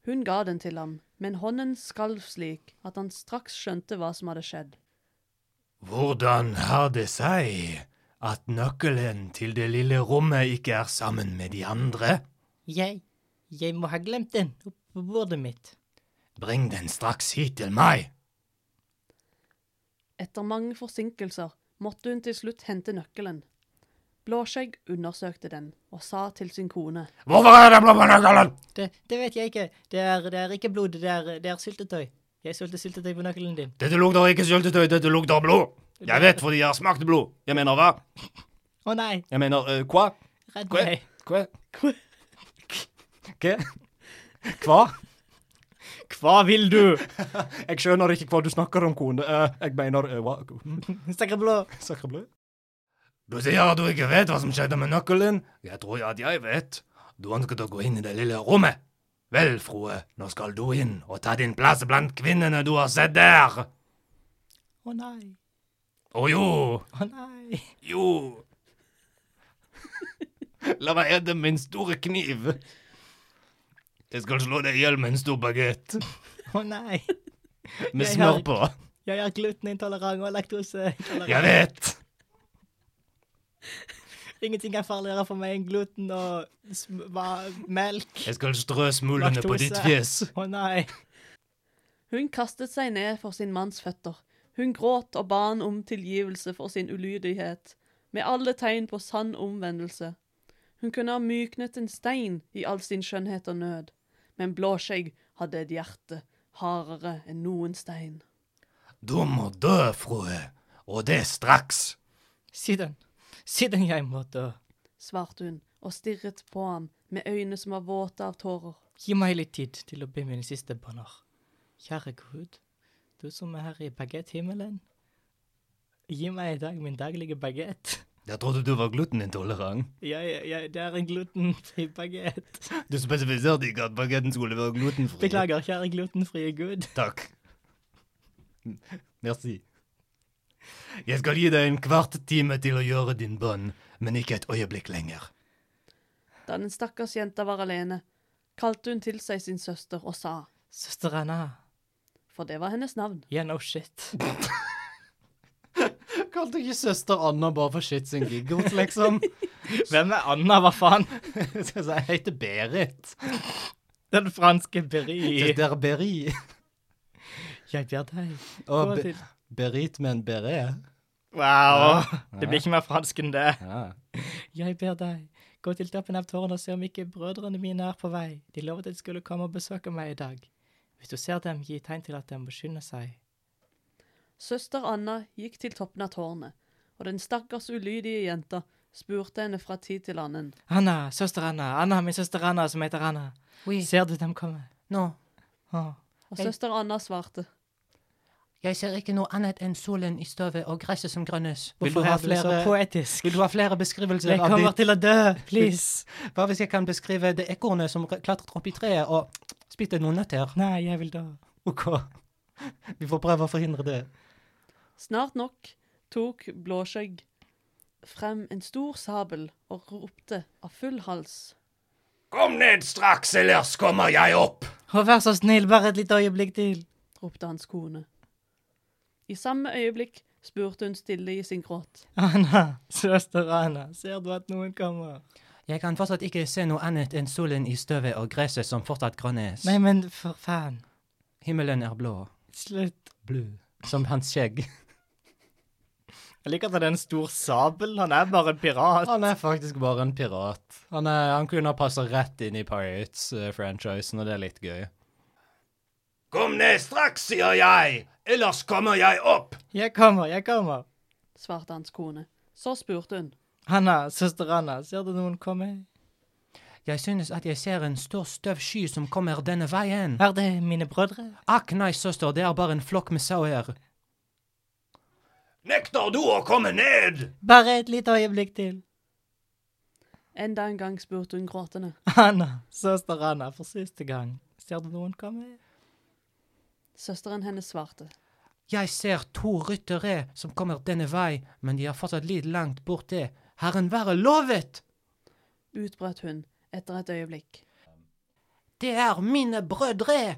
Speaker 1: Hun ga den til ham, men hånden skalv slik at han straks skjønte hva som hadde skjedd.
Speaker 3: Hvordan har det seg at nøkkelen til det lille rommet ikke er sammen med de andre?
Speaker 4: Jeg Jeg må ha glemt den oppå bordet mitt.
Speaker 3: Bring den straks hit til meg.
Speaker 1: Etter mange forsinkelser måtte hun til slutt hente nøkkelen. Blåskjegg undersøkte den og sa til sin kone.
Speaker 3: Hvorfor er den blå på nøkkelen?
Speaker 4: Det, det vet jeg ikke. Det er, det er ikke blod, det er, det er syltetøy. Jeg sølte syltetøy på nøkkelen din.
Speaker 3: Dette lukter ikke syltetøy, dette lukter blod. Jeg vet fordi jeg har smakt blod. Jeg mener hva?
Speaker 4: Å nei,
Speaker 3: Jeg mener eh, hva?
Speaker 4: redd
Speaker 3: Hva?
Speaker 4: meg.
Speaker 3: Hva?
Speaker 5: Hva? Hva?
Speaker 4: Hva vil du?
Speaker 5: Jeg skjønner ikke hva du snakker om, kone. Eh, jeg mener eh, hva?
Speaker 4: Stakkar blå.
Speaker 5: Sakra blø?
Speaker 3: Du sier at du ikke vet hva som skjedde med nøkkelen. Jeg tror at jeg vet. Du ønsket å gå inn i det lille rommet. Vel, frue, nå skal du inn og ta din plass blant kvinnene du har sett der.
Speaker 4: Å nei.
Speaker 3: Å jo,
Speaker 4: Å nei.
Speaker 3: jo. La meg edde min store kniv. Jeg skal slå deg i hjel med en stor bagett
Speaker 4: Å nei.
Speaker 3: med
Speaker 4: Jeg
Speaker 3: smør
Speaker 4: har-
Speaker 3: på.
Speaker 4: Jeg er glutenintolerant og
Speaker 3: Jeg
Speaker 4: laktoseintolerant.
Speaker 3: vet.
Speaker 4: Ingenting er farligere for meg enn gluten og sm hva, melk.
Speaker 3: Jeg skal strø smulene på ditt
Speaker 4: Laktose.
Speaker 3: fjes.
Speaker 4: Å nei.
Speaker 1: Hun kastet seg ned for sin manns føtter. Hun gråt og ba han om tilgivelse for sin ulydighet, med alle tegn på sann omvendelse. Hun kunne ha myknet en stein i all sin skjønnhet og nød, men Blåskjegg hadde et hjerte hardere enn noen stein.
Speaker 3: Du må dø, frue. Og det straks.
Speaker 4: Si den. Si den jeg må dø.
Speaker 1: svarte hun og stirret på ham med øyne som var våte av tårer.
Speaker 4: Gi meg litt tid til å be mine siste bønner. Kjære Gud, du som er her i bagetthimmelen. Gi meg i dag min daglige bagett.
Speaker 3: Jeg trodde du var glutenintolerant.
Speaker 4: Jeg, jeg, det er en glutenfri bagett.
Speaker 3: Du spesifiserte ikke at bagetten skulle være glutenfri.
Speaker 4: Beklager, kjære glutenfrie Gud.
Speaker 3: Takk. Merci. Jeg skal gi deg en kvart time til å gjøre din bønn, men ikke et øyeblikk lenger.
Speaker 1: Da den stakkars jenta var alene, kalte hun til seg sin søster og sa,
Speaker 4: Søster Anna.
Speaker 1: for det var hennes navn.
Speaker 4: Yeah, no shit.
Speaker 5: Kalte ikke søster Anna bare for shits and giggles, liksom?
Speaker 4: Hvem er Anna, hva faen?
Speaker 5: Så jeg heter Berit.
Speaker 4: Den franske Beri.
Speaker 5: Det er Beri.
Speaker 4: Jeg ber deg.
Speaker 5: Og
Speaker 4: Gå
Speaker 5: Be
Speaker 4: til-
Speaker 5: Berit med en beret.
Speaker 4: Wow. Det blir ikke mer fransk enn det.
Speaker 5: Ja.
Speaker 4: Jeg ber deg, gå til toppen av tårnet og se om ikke brødrene mine er på vei. De lovet at de skulle komme og besøke meg i dag. Hvis du ser dem, gi tegn til at de må skynde seg.
Speaker 1: Søster Anna gikk til toppen av tårnet, og den stakkars ulydige jenta spurte henne fra tid til annen.
Speaker 4: Anna, søster Anna, Anna, min søster Anna, som heter Anna. Ser du dem komme?
Speaker 6: Nå,
Speaker 4: Åh.
Speaker 1: Og søster Anna svarte,
Speaker 6: jeg ser ikke noe annet enn solen i støvet og gresset som grønnes.
Speaker 5: Vil du
Speaker 4: Hvorfor
Speaker 5: ha
Speaker 4: er du så
Speaker 5: flere-
Speaker 4: poetisk?
Speaker 5: Vil du ha flere beskrivelser
Speaker 4: Jeg
Speaker 5: av
Speaker 4: kommer
Speaker 5: ditt
Speaker 4: til å dø, please.
Speaker 5: Hva hvis jeg kan beskrive det ekornet som klatret opp i treet og spiste noen nøtter?
Speaker 4: Nei, jeg vil dø.
Speaker 5: OK. Vi får prøve å forhindre det.
Speaker 1: snart nok tok Blåskjegg frem en stor sabel og ropte av full hals.
Speaker 3: Kom ned straks, ellers kommer jeg opp!
Speaker 4: Å, vær så snill, bare et lite øyeblikk til.
Speaker 1: ropte hans kone. I samme øyeblikk spurte hun stille i sin gråt.
Speaker 4: Anna, søster Anna, ser du at noen kommer?
Speaker 6: Jeg kan fortsatt ikke se noe annet enn solen i støvet og gresset som fortsatt grønnes.
Speaker 4: Nei, men for faen.
Speaker 6: Himmelen er blå.
Speaker 4: Slutt.
Speaker 5: Blue. Som hans skjegg.
Speaker 4: Jeg liker at han er en stor sabel. Han er bare en pirat.
Speaker 5: Han er faktisk bare en pirat. Han, eh, er, han kunne ha passa rett inn i Pirates-franchisen, og det er litt gøy.
Speaker 4: Kom ned straks, sier jeg, ellers kommer jeg opp.
Speaker 2: Jeg kommer, jeg kommer.
Speaker 1: svarte hans kone. Så spurte hun.
Speaker 2: Hanna, søster Hanna, ser du noen komme?
Speaker 5: Jeg synes at jeg ser en stor støv sky som kommer denne veien.
Speaker 2: Er det mine brødre?
Speaker 5: Akk nei, søster, det er bare en flokk med sauer.
Speaker 4: Nekter du å komme ned?
Speaker 2: Bare et lite øyeblikk til.
Speaker 1: Enda en gang spurte hun gråtende.
Speaker 2: Hanna, søster Hanna, for siste gang. Ser du noen komme?
Speaker 1: Søsteren hennes svarte.
Speaker 5: Jeg ser to ryttere som kommer denne vei, men de er fortsatt litt langt borte. Herren være lovet!
Speaker 1: Utbrøt hun etter et øyeblikk.
Speaker 5: Det er mine brødre!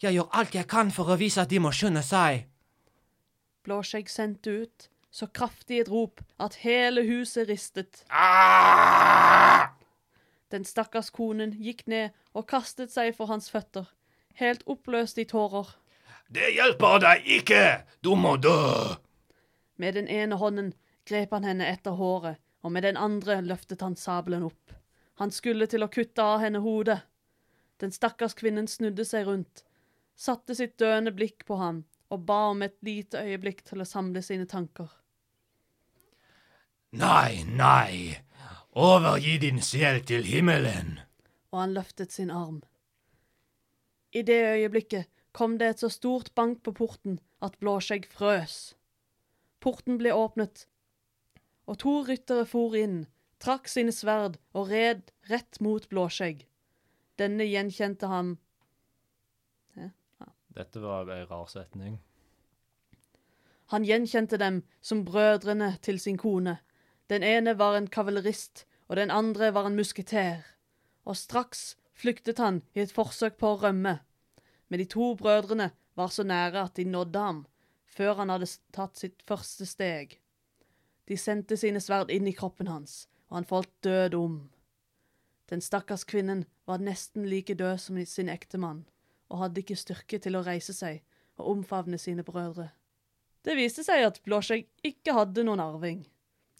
Speaker 5: Jeg gjør alt jeg kan for å vise at de må skynde seg.
Speaker 1: Blåskjegg sendte ut så kraftig et rop at hele huset ristet. Den stakkars konen gikk ned og kastet seg for hans føtter, helt oppløst i tårer.
Speaker 4: Det hjelper deg ikke, du må dø.
Speaker 1: Med den ene hånden grep han henne etter håret, og med den andre løftet han sabelen opp. Han skulle til å kutte av henne hodet. Den stakkars kvinnen snudde seg rundt, satte sitt døende blikk på ham og ba om et lite øyeblikk til å samle sine tanker.
Speaker 4: Nei, nei, overgi din sjel til himmelen.
Speaker 1: og han løftet sin arm. I det øyeblikket kom det et så stort bank på porten at Blåskjegg frøs. Porten ble åpnet, og to ryttere for inn, trakk sine sverd og red rett mot Blåskjegg. Denne gjenkjente ham.
Speaker 3: Dette var ei rar setning.
Speaker 1: Han gjenkjente dem som brødrene til sin kone. Den ene var en kavalerist, og den andre var en musketer. Og straks flyktet han i et forsøk på å rømme. Men de to brødrene var så nære at de nådde ham, før han hadde s- tatt sitt første steg. De sendte sine sverd inn i kroppen hans, og han falt død om. Den stakkars kvinnen var nesten like død som i sin ektemann, og hadde ikke styrke til å reise seg og omfavne sine brødre. Det viste seg at Blåskjegg ikke hadde noen arving,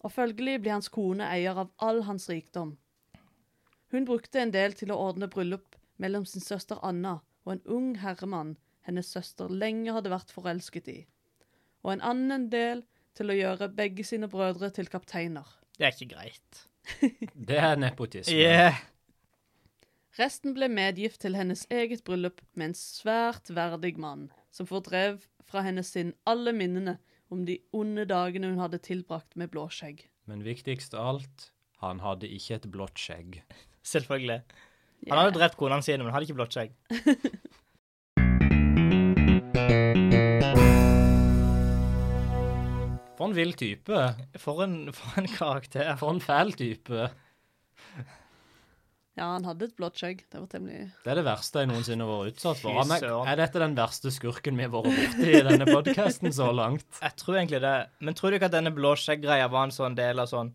Speaker 1: og følgelig ble hans kone eier av all hans rikdom. Hun brukte en del til å ordne bryllup mellom sin søster Anna og en ung herremann hennes søster lenge hadde vært forelsket i, og en annen del til å gjøre begge sine brødre til kapteiner.
Speaker 2: Det er ikke greit.
Speaker 3: Det er nepotisme.
Speaker 2: Yeah.
Speaker 1: Resten ble medgift til hennes eget bryllup med en svært verdig mann, som fordrev fra hennes sinn alle minnene om de onde dagene hun hadde tilbrakt med Blåskjegg.
Speaker 3: Men viktigst av alt, han hadde ikke et blått skjegg.
Speaker 2: Selvfølgelig. Han hadde drept konene sine, men han hadde ikke blått skjegg.
Speaker 3: For en vill type.
Speaker 2: For en, for en karakter.
Speaker 3: For en fæl type.
Speaker 1: Ja, han hadde et blått skjegg. Det var temmelig
Speaker 3: Det er det verste jeg noensinne har vært utsatt for.
Speaker 2: Fy
Speaker 3: Han er,
Speaker 2: søren.
Speaker 3: er dette den verste skurken vi har vært borti i denne podkasten så langt?
Speaker 2: Jeg tror egentlig det. Men tror du ikke at denne blåskjegg-greia var en sånn del av sånn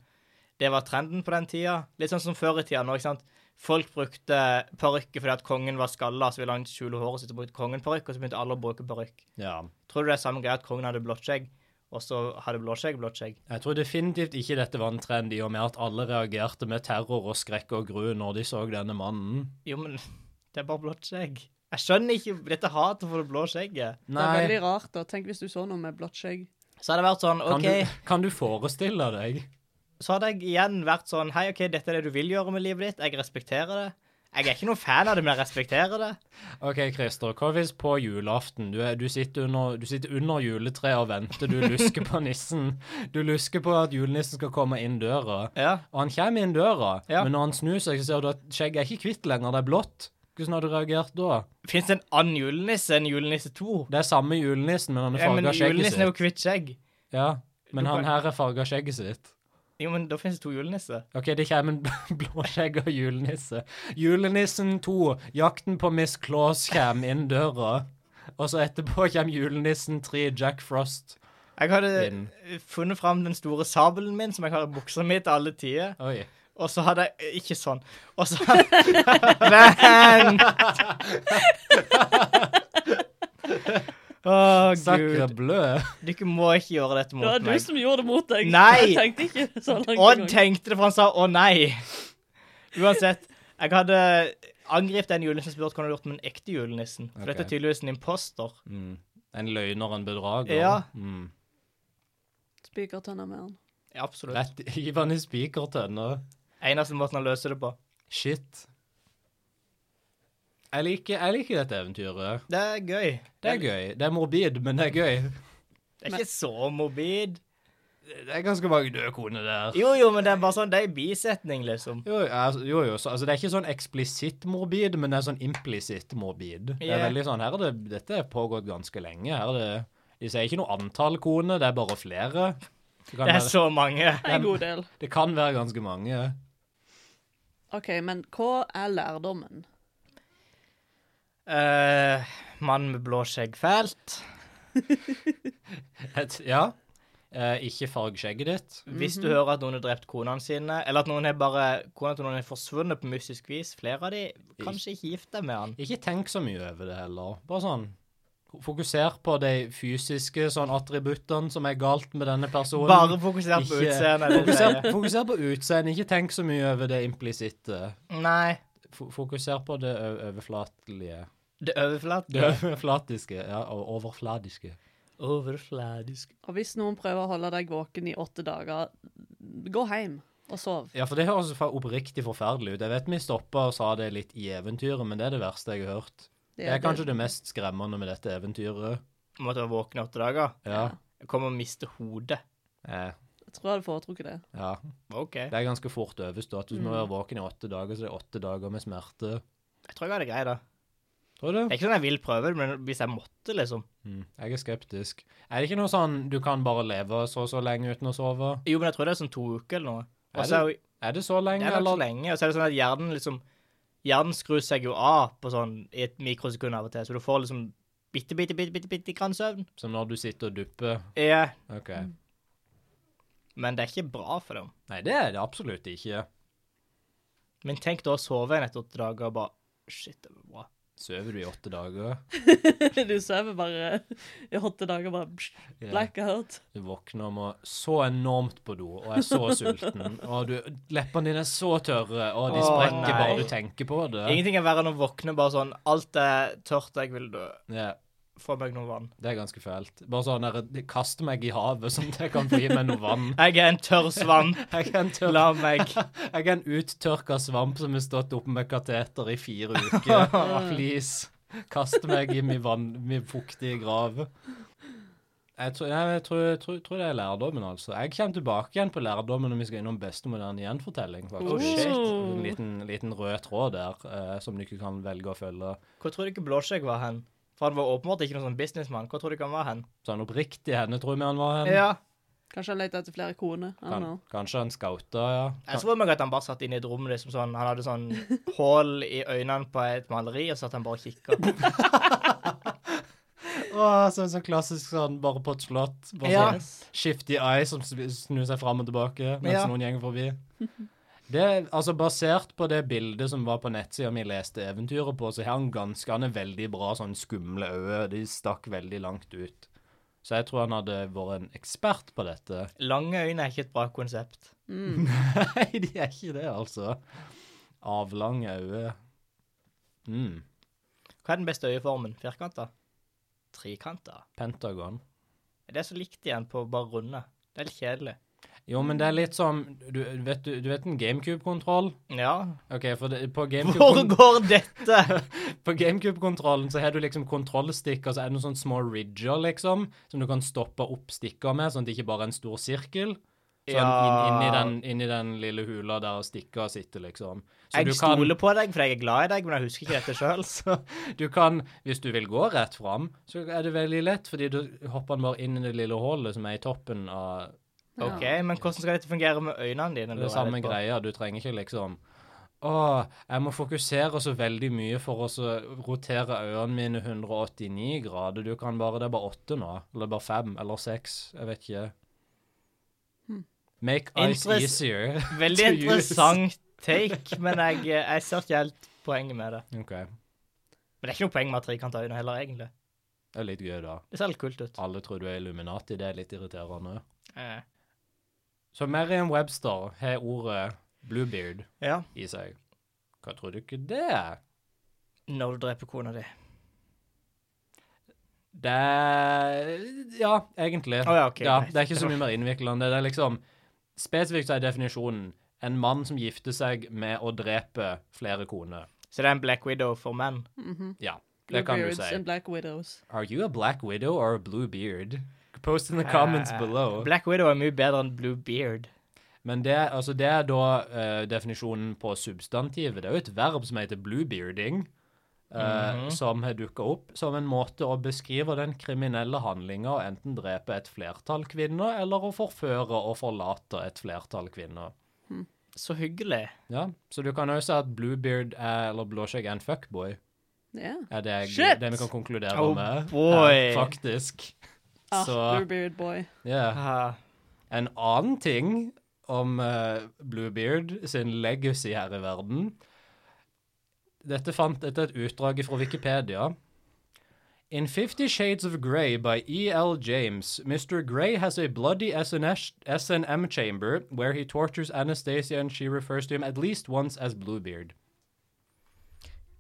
Speaker 2: Det var trenden på den tida? Litt sånn som før i tida nå, ikke sant? Folk brukte parykker fordi at kongen var skalla, så ville han skjule håret sitt og brukte kongen parykk, og så begynte alle å bruke parykk.
Speaker 3: Ja.
Speaker 2: Tror du det er samme greia at kongen hadde blått skjegg, og så hadde blåskjegg blått skjegg?
Speaker 3: Jeg tror definitivt ikke dette var en trend i og med at alle reagerte med terror og skrekk og gru når de så denne mannen.
Speaker 2: Jo, men det er bare blått skjegg. Jeg skjønner ikke dette hatet for det blå skjegget.
Speaker 1: Det er veldig rart. da. Tenk hvis du så noe med blått skjegg.
Speaker 2: Så hadde det vært sånn, OK
Speaker 3: Kan, du, kan du forestille deg?
Speaker 2: så hadde jeg igjen vært sånn Hei, OK, dette er det du vil gjøre med livet ditt. Jeg respekterer det. Jeg er ikke noen fan av det, men jeg respekterer det.
Speaker 3: OK, Christer, hva hvis på julaften du, er, du, sitter under, du sitter under juletreet og venter, du lusker på nissen. Du lusker på at julenissen skal komme inn døra.
Speaker 2: Ja.
Speaker 3: Og han kommer inn døra,
Speaker 2: Ja.
Speaker 3: men når han snur seg, så ser du at skjegget er ikke hvitt lenger, det er blått. Hvordan hadde du reagert da?
Speaker 2: Fins det en annen julenisse enn julenisse 2?
Speaker 3: Det er samme julenissen, men han er
Speaker 2: Ja, men
Speaker 3: farga skjegget
Speaker 2: julenissen er
Speaker 3: sitt.
Speaker 2: jo kvitt skjegg.
Speaker 3: Ja, men
Speaker 2: Du
Speaker 3: han
Speaker 2: kan-
Speaker 3: her er farga skjegget sitt.
Speaker 2: Jo, men da fins det to julenisser.
Speaker 3: OK, det kommer en bl- blåskjegg og julenisse. Julenissen 2, jakten på Miss Claus kommer inn døra. Og så etterpå kommer julenissen 3, Jack Frost.
Speaker 2: Jeg hadde
Speaker 3: Min.
Speaker 2: funnet fram den store sabelen min, som jeg har i buksa mi til alle tider.
Speaker 3: Oi.
Speaker 2: Og så hadde jeg Ikke sånn. Og så Men Å,
Speaker 3: Sakre
Speaker 2: gud.
Speaker 3: blø.
Speaker 2: Dere må ikke gjøre dette
Speaker 1: Det var
Speaker 2: mot
Speaker 1: du
Speaker 2: meg.
Speaker 1: som gjorde det mot deg.
Speaker 2: Nei!
Speaker 1: Jeg tenkte ikke så langt
Speaker 2: Odd
Speaker 1: engang.
Speaker 2: tenkte det, for han sa 'å nei'. Uansett. Jeg hadde angrepet den julenissen og spurt hva han hadde gjort med den ekte julenissen. For dette er
Speaker 3: Ok.
Speaker 2: tydeligvis en imposter.
Speaker 3: Mm. En løgner og en bedrager.
Speaker 2: Ja.
Speaker 3: Mm.
Speaker 1: Spikertønna med han.
Speaker 2: Ja, Absolutt.
Speaker 3: Rett i vann i spikertønner.
Speaker 2: Eneste måten han løser det på.
Speaker 3: Shit. Jeg liker, jeg liker dette eventyret.
Speaker 2: Det er gøy.
Speaker 3: Det er gøy. Det er morbid, men det er gøy.
Speaker 2: Det er ikke så morbid.
Speaker 3: Det er ganske mange døde koner der.
Speaker 2: Jo, jo, men det er bare sånn, det er en bisetning, liksom.
Speaker 3: Jo, altså, jo, jo så, altså, det er ikke sånn eksplisitt morbid, men det er sånn implisitt morbid. Det er
Speaker 2: Ja.
Speaker 3: veldig sånn, her er det, Dette har pågått ganske lenge. Her er det, de sier ikke noe antall koner, det er bare flere. Det kan,
Speaker 2: Det er
Speaker 3: være,
Speaker 2: så mange.
Speaker 1: En god del.
Speaker 3: det kan være ganske mange.
Speaker 1: OK, men hva er lærdommen?
Speaker 2: Uh, Mann med blå skjegg fælt.
Speaker 3: Et, ja. Eh, ikke farg skjegget ditt.
Speaker 2: Hvis du hører at noen har drept konene sine, eller at noen har bare, kona til noen har forsvunnet på mystisk vis, flere av de, kanskje ikke gift deg med han.
Speaker 3: Ikke tenk så mye over det heller. Bare sånn Fokuser på de fysiske sånn attributtene som er galt med denne personen.
Speaker 2: Bare fokuser på
Speaker 3: Ikke-
Speaker 2: utseendet. det
Speaker 3: Fokuser,
Speaker 2: sier jeg.
Speaker 3: fokuser på utseendet, ikke tenk så mye over det implisitte.
Speaker 2: Nei.
Speaker 3: Fo- Fokuser på det ø- overflatelige.
Speaker 2: Det
Speaker 3: Det
Speaker 2: overflatiske.
Speaker 3: overflatiske, ja, og overfladiske.
Speaker 2: Overfladisk.
Speaker 1: Og hvis noen prøver å holde deg våken i åtte dager, gå hjem og sov.
Speaker 3: Ja, for det høres fa- oppriktig forferdelig ut. Jeg vet vi stoppa og sa det litt i eventyret, men det er det verste jeg har hørt. Det er kanskje det mest skremmende med dette eventyret.
Speaker 2: Måtte være våken i åtte dager.
Speaker 3: Ja.
Speaker 2: Jeg kommer til å miste hodet.
Speaker 3: Eh,
Speaker 1: Jeg tror jeg hadde foretrukket det.
Speaker 3: ja.
Speaker 2: OK.
Speaker 3: Det er ganske fort overstått. Du må være våken i åtte dager, så det er åtte dager med smerte.
Speaker 2: Jeg tror jeg hadde greid det.
Speaker 3: Tror du?
Speaker 2: Det er ikke sånn jeg vil prøve det, men hvis jeg måtte, liksom.
Speaker 3: Mm. Jeg er skeptisk. Er det ikke noe sånn du kan bare leve så og så lenge uten å sove?
Speaker 2: Jo, men jeg tror det er sånn to uker eller noe.
Speaker 3: Er
Speaker 2: Og så er jo
Speaker 3: Er det så
Speaker 2: det
Speaker 3: lenge,
Speaker 2: er nok så
Speaker 3: eller?
Speaker 2: lenge, og så er det sånn at hjernen liksom Hjernen skrur seg jo av på sånn i et mikrosekund av og til, så du får liksom bitte, bitte, bitte, bitte, bitte grann søvn.
Speaker 3: Som når du sitter og dupper.
Speaker 2: Ja,
Speaker 3: Ok.
Speaker 2: men det er ikke bra for dem.
Speaker 3: Nei, det er det absolutt ikke.
Speaker 2: Men tenk da å sove en etter åtte dager og bare Shit, det var bra.
Speaker 3: Søver du i åtte dager?
Speaker 1: Du sover bare i åtte dager, bare psh,
Speaker 3: Ja.
Speaker 1: blackout.
Speaker 3: Du våkner og må så enormt på do, og er så sulten. Og du, leppene dine er så tørre, og de
Speaker 2: Å,
Speaker 3: sprekker
Speaker 2: nei.
Speaker 3: bare du tenker på det.
Speaker 2: Ingenting er verre enn å våkne bare sånn Alt er tørt, jeg vil dø.
Speaker 3: Ja,
Speaker 2: Få meg noe vann.
Speaker 3: det er ganske fælt. Bare sånn der, kaste meg i havet sånn at jeg kan få i meg noe vann.
Speaker 2: Jeg er en tørr svamp.
Speaker 3: Jeg er en, tør,
Speaker 2: La meg
Speaker 3: jeg er en uttørka svamp som har stått oppe med kateter i fire uker. Please, kaste meg i min, vann, min fuktige grav. Jeg tror, nei, men jeg tror, jeg tror, tror det er lærdommen, altså. Jeg kommer tilbake igjen på lærdommen når vi skal innom beste moderne gjenfortelling. faktisk.
Speaker 1: Oh, shit.
Speaker 3: En liten, liten rød tråd der, eh, som du ikke kan velge å følge.
Speaker 2: Hvor tror du ikke Blåskjegg var hen? For han var åpenbart ikke noen sånn businessmann. Hvor tror du ikke han var hen?
Speaker 3: Sånn oppriktig henne, tror vi han var hen.
Speaker 2: Ja.
Speaker 1: Kanskje han leter etter flere koner. I don't
Speaker 3: Kan,
Speaker 1: know.
Speaker 3: kanskje han skauta, ja.
Speaker 2: Jeg så for meg at han bare satt inne i et rom liksom sånn. Han hadde sånn hull i øynene på et maleri, og så satt han bare og kikka.
Speaker 3: Åh, så, så klassisk sånn, bare på et slott. Bare
Speaker 2: Ja.
Speaker 3: sånn shifty eye som sn- snur seg fram og tilbake mens
Speaker 2: Ja.
Speaker 3: noen gjenger forbi. Det, altså Basert på det bildet som var på nettsida vi leste eventyret på, så har han ganske, han er veldig bra sånn skumle øyne. De stakk veldig langt ut. Så jeg tror han hadde vært en ekspert på dette.
Speaker 2: Lange øyne er ikke et bra konsept.
Speaker 1: Mm,
Speaker 3: Nei, de er ikke det, altså. Avlange øyne. Mm.
Speaker 2: Hva er den beste øyeformen? Firkanta? Trikanta?
Speaker 3: Pentagon.
Speaker 2: Det er så likt igjen på bare runde. Det er litt kjedelig.
Speaker 3: Jo, men det er litt som Du, du vet, du, du vet en GameCube-kontroll?
Speaker 2: Ja.
Speaker 3: OK, for det, på
Speaker 2: Hvor
Speaker 3: GameCube
Speaker 2: går dette?
Speaker 3: På GameCube-kontrollen så har du liksom kontrollstikker, så er det noen sånne små ridger, liksom, som du kan stoppe opp stikker med, sånn at det ikke bare er en stor sirkel. Sånn
Speaker 2: Ja.
Speaker 3: inn, inni, den, inni den lille hula der stikker sitter, liksom. Så
Speaker 2: Jeg
Speaker 3: du kan,
Speaker 2: stoler på deg, for jeg er glad i deg, men jeg husker ikke dette sjøl.
Speaker 3: du kan, hvis du vil gå rett fram, så er det veldig lett, fordi du hopper den bare inn i det lille hullet som er i toppen av
Speaker 2: OK, men hvordan skal dette fungere med øynene dine?
Speaker 3: Det
Speaker 2: lurer
Speaker 3: er
Speaker 2: jeg
Speaker 3: samme
Speaker 2: litt på?
Speaker 3: greia. Du trenger ikke liksom Å, jeg må fokusere så veldig mye for å så rotere øynene mine 189 grader. Du kan bare Det er bare åtte nå. Eller bare fem. Eller seks. Jeg vet ikke. Hm. Make eyes
Speaker 2: Interess-
Speaker 3: easier.
Speaker 2: Veldig
Speaker 3: to use.
Speaker 2: interessant take, men jeg, jeg ser ikke helt poenget med det.
Speaker 3: OK. Det
Speaker 2: Men det er ikke noe poeng med at trikanta øyne heller, egentlig.
Speaker 3: er litt gøy, da.
Speaker 2: Det ser litt kult ut.
Speaker 3: Alle tror du er Illuminati. Det er litt irriterende.
Speaker 2: Eh,
Speaker 3: Så Merriam Webster har ordet bluebeard
Speaker 2: Ja.
Speaker 3: i seg. Hva tror du ikke det er?
Speaker 2: Når du dreper kona di.
Speaker 3: Det Ja, egentlig.
Speaker 2: Å ja, ok,
Speaker 3: ja,
Speaker 2: greit.
Speaker 3: det er ikke så mye mer innviklende. Det er liksom Spesifikt så er definisjonen en mann som gifter seg med å drepe flere koner.
Speaker 2: Så det er en black widow for menn.
Speaker 3: Ja, det kan du
Speaker 1: Bluebeards
Speaker 3: si.
Speaker 1: mm-hmm. and black widows.
Speaker 3: Are you a black widow or a blue beard? Post in the comments
Speaker 2: Eh,
Speaker 3: below.
Speaker 2: Black widow er mye bedre enn blue beard.
Speaker 3: Men det, altså det er da eh, definisjonen på substantivet. Det er jo et verb som heter bluebearding, eh, som har dukka opp som en måte å beskrive den kriminelle handlinga å enten drepe et flertall kvinner, eller å forføre og forlate et flertall kvinner.
Speaker 2: Så hyggelig.
Speaker 3: Ja, Så du kan jo si at bluebeard er, eller blåskjegg er en fuckboy.
Speaker 1: Ja.
Speaker 3: Er det jeg,
Speaker 1: Shit!
Speaker 3: det vi kan konkludere
Speaker 2: Oh,
Speaker 3: med?
Speaker 2: boy.
Speaker 3: eh, faktisk.
Speaker 1: Ah,
Speaker 3: Så-
Speaker 1: Bluebeard boy.
Speaker 3: Yeah.
Speaker 2: Ah,
Speaker 3: En annen ting om eh, Bluebeard sin legacy her i verden Dette fant etter et utdrag fra Wikipedia. In Fifty Shades of Grey by E.L. James, Mr. Grey has a bloody SNS S&M chamber where he tortures Anastasia and she refers to him at least once as Bluebeard.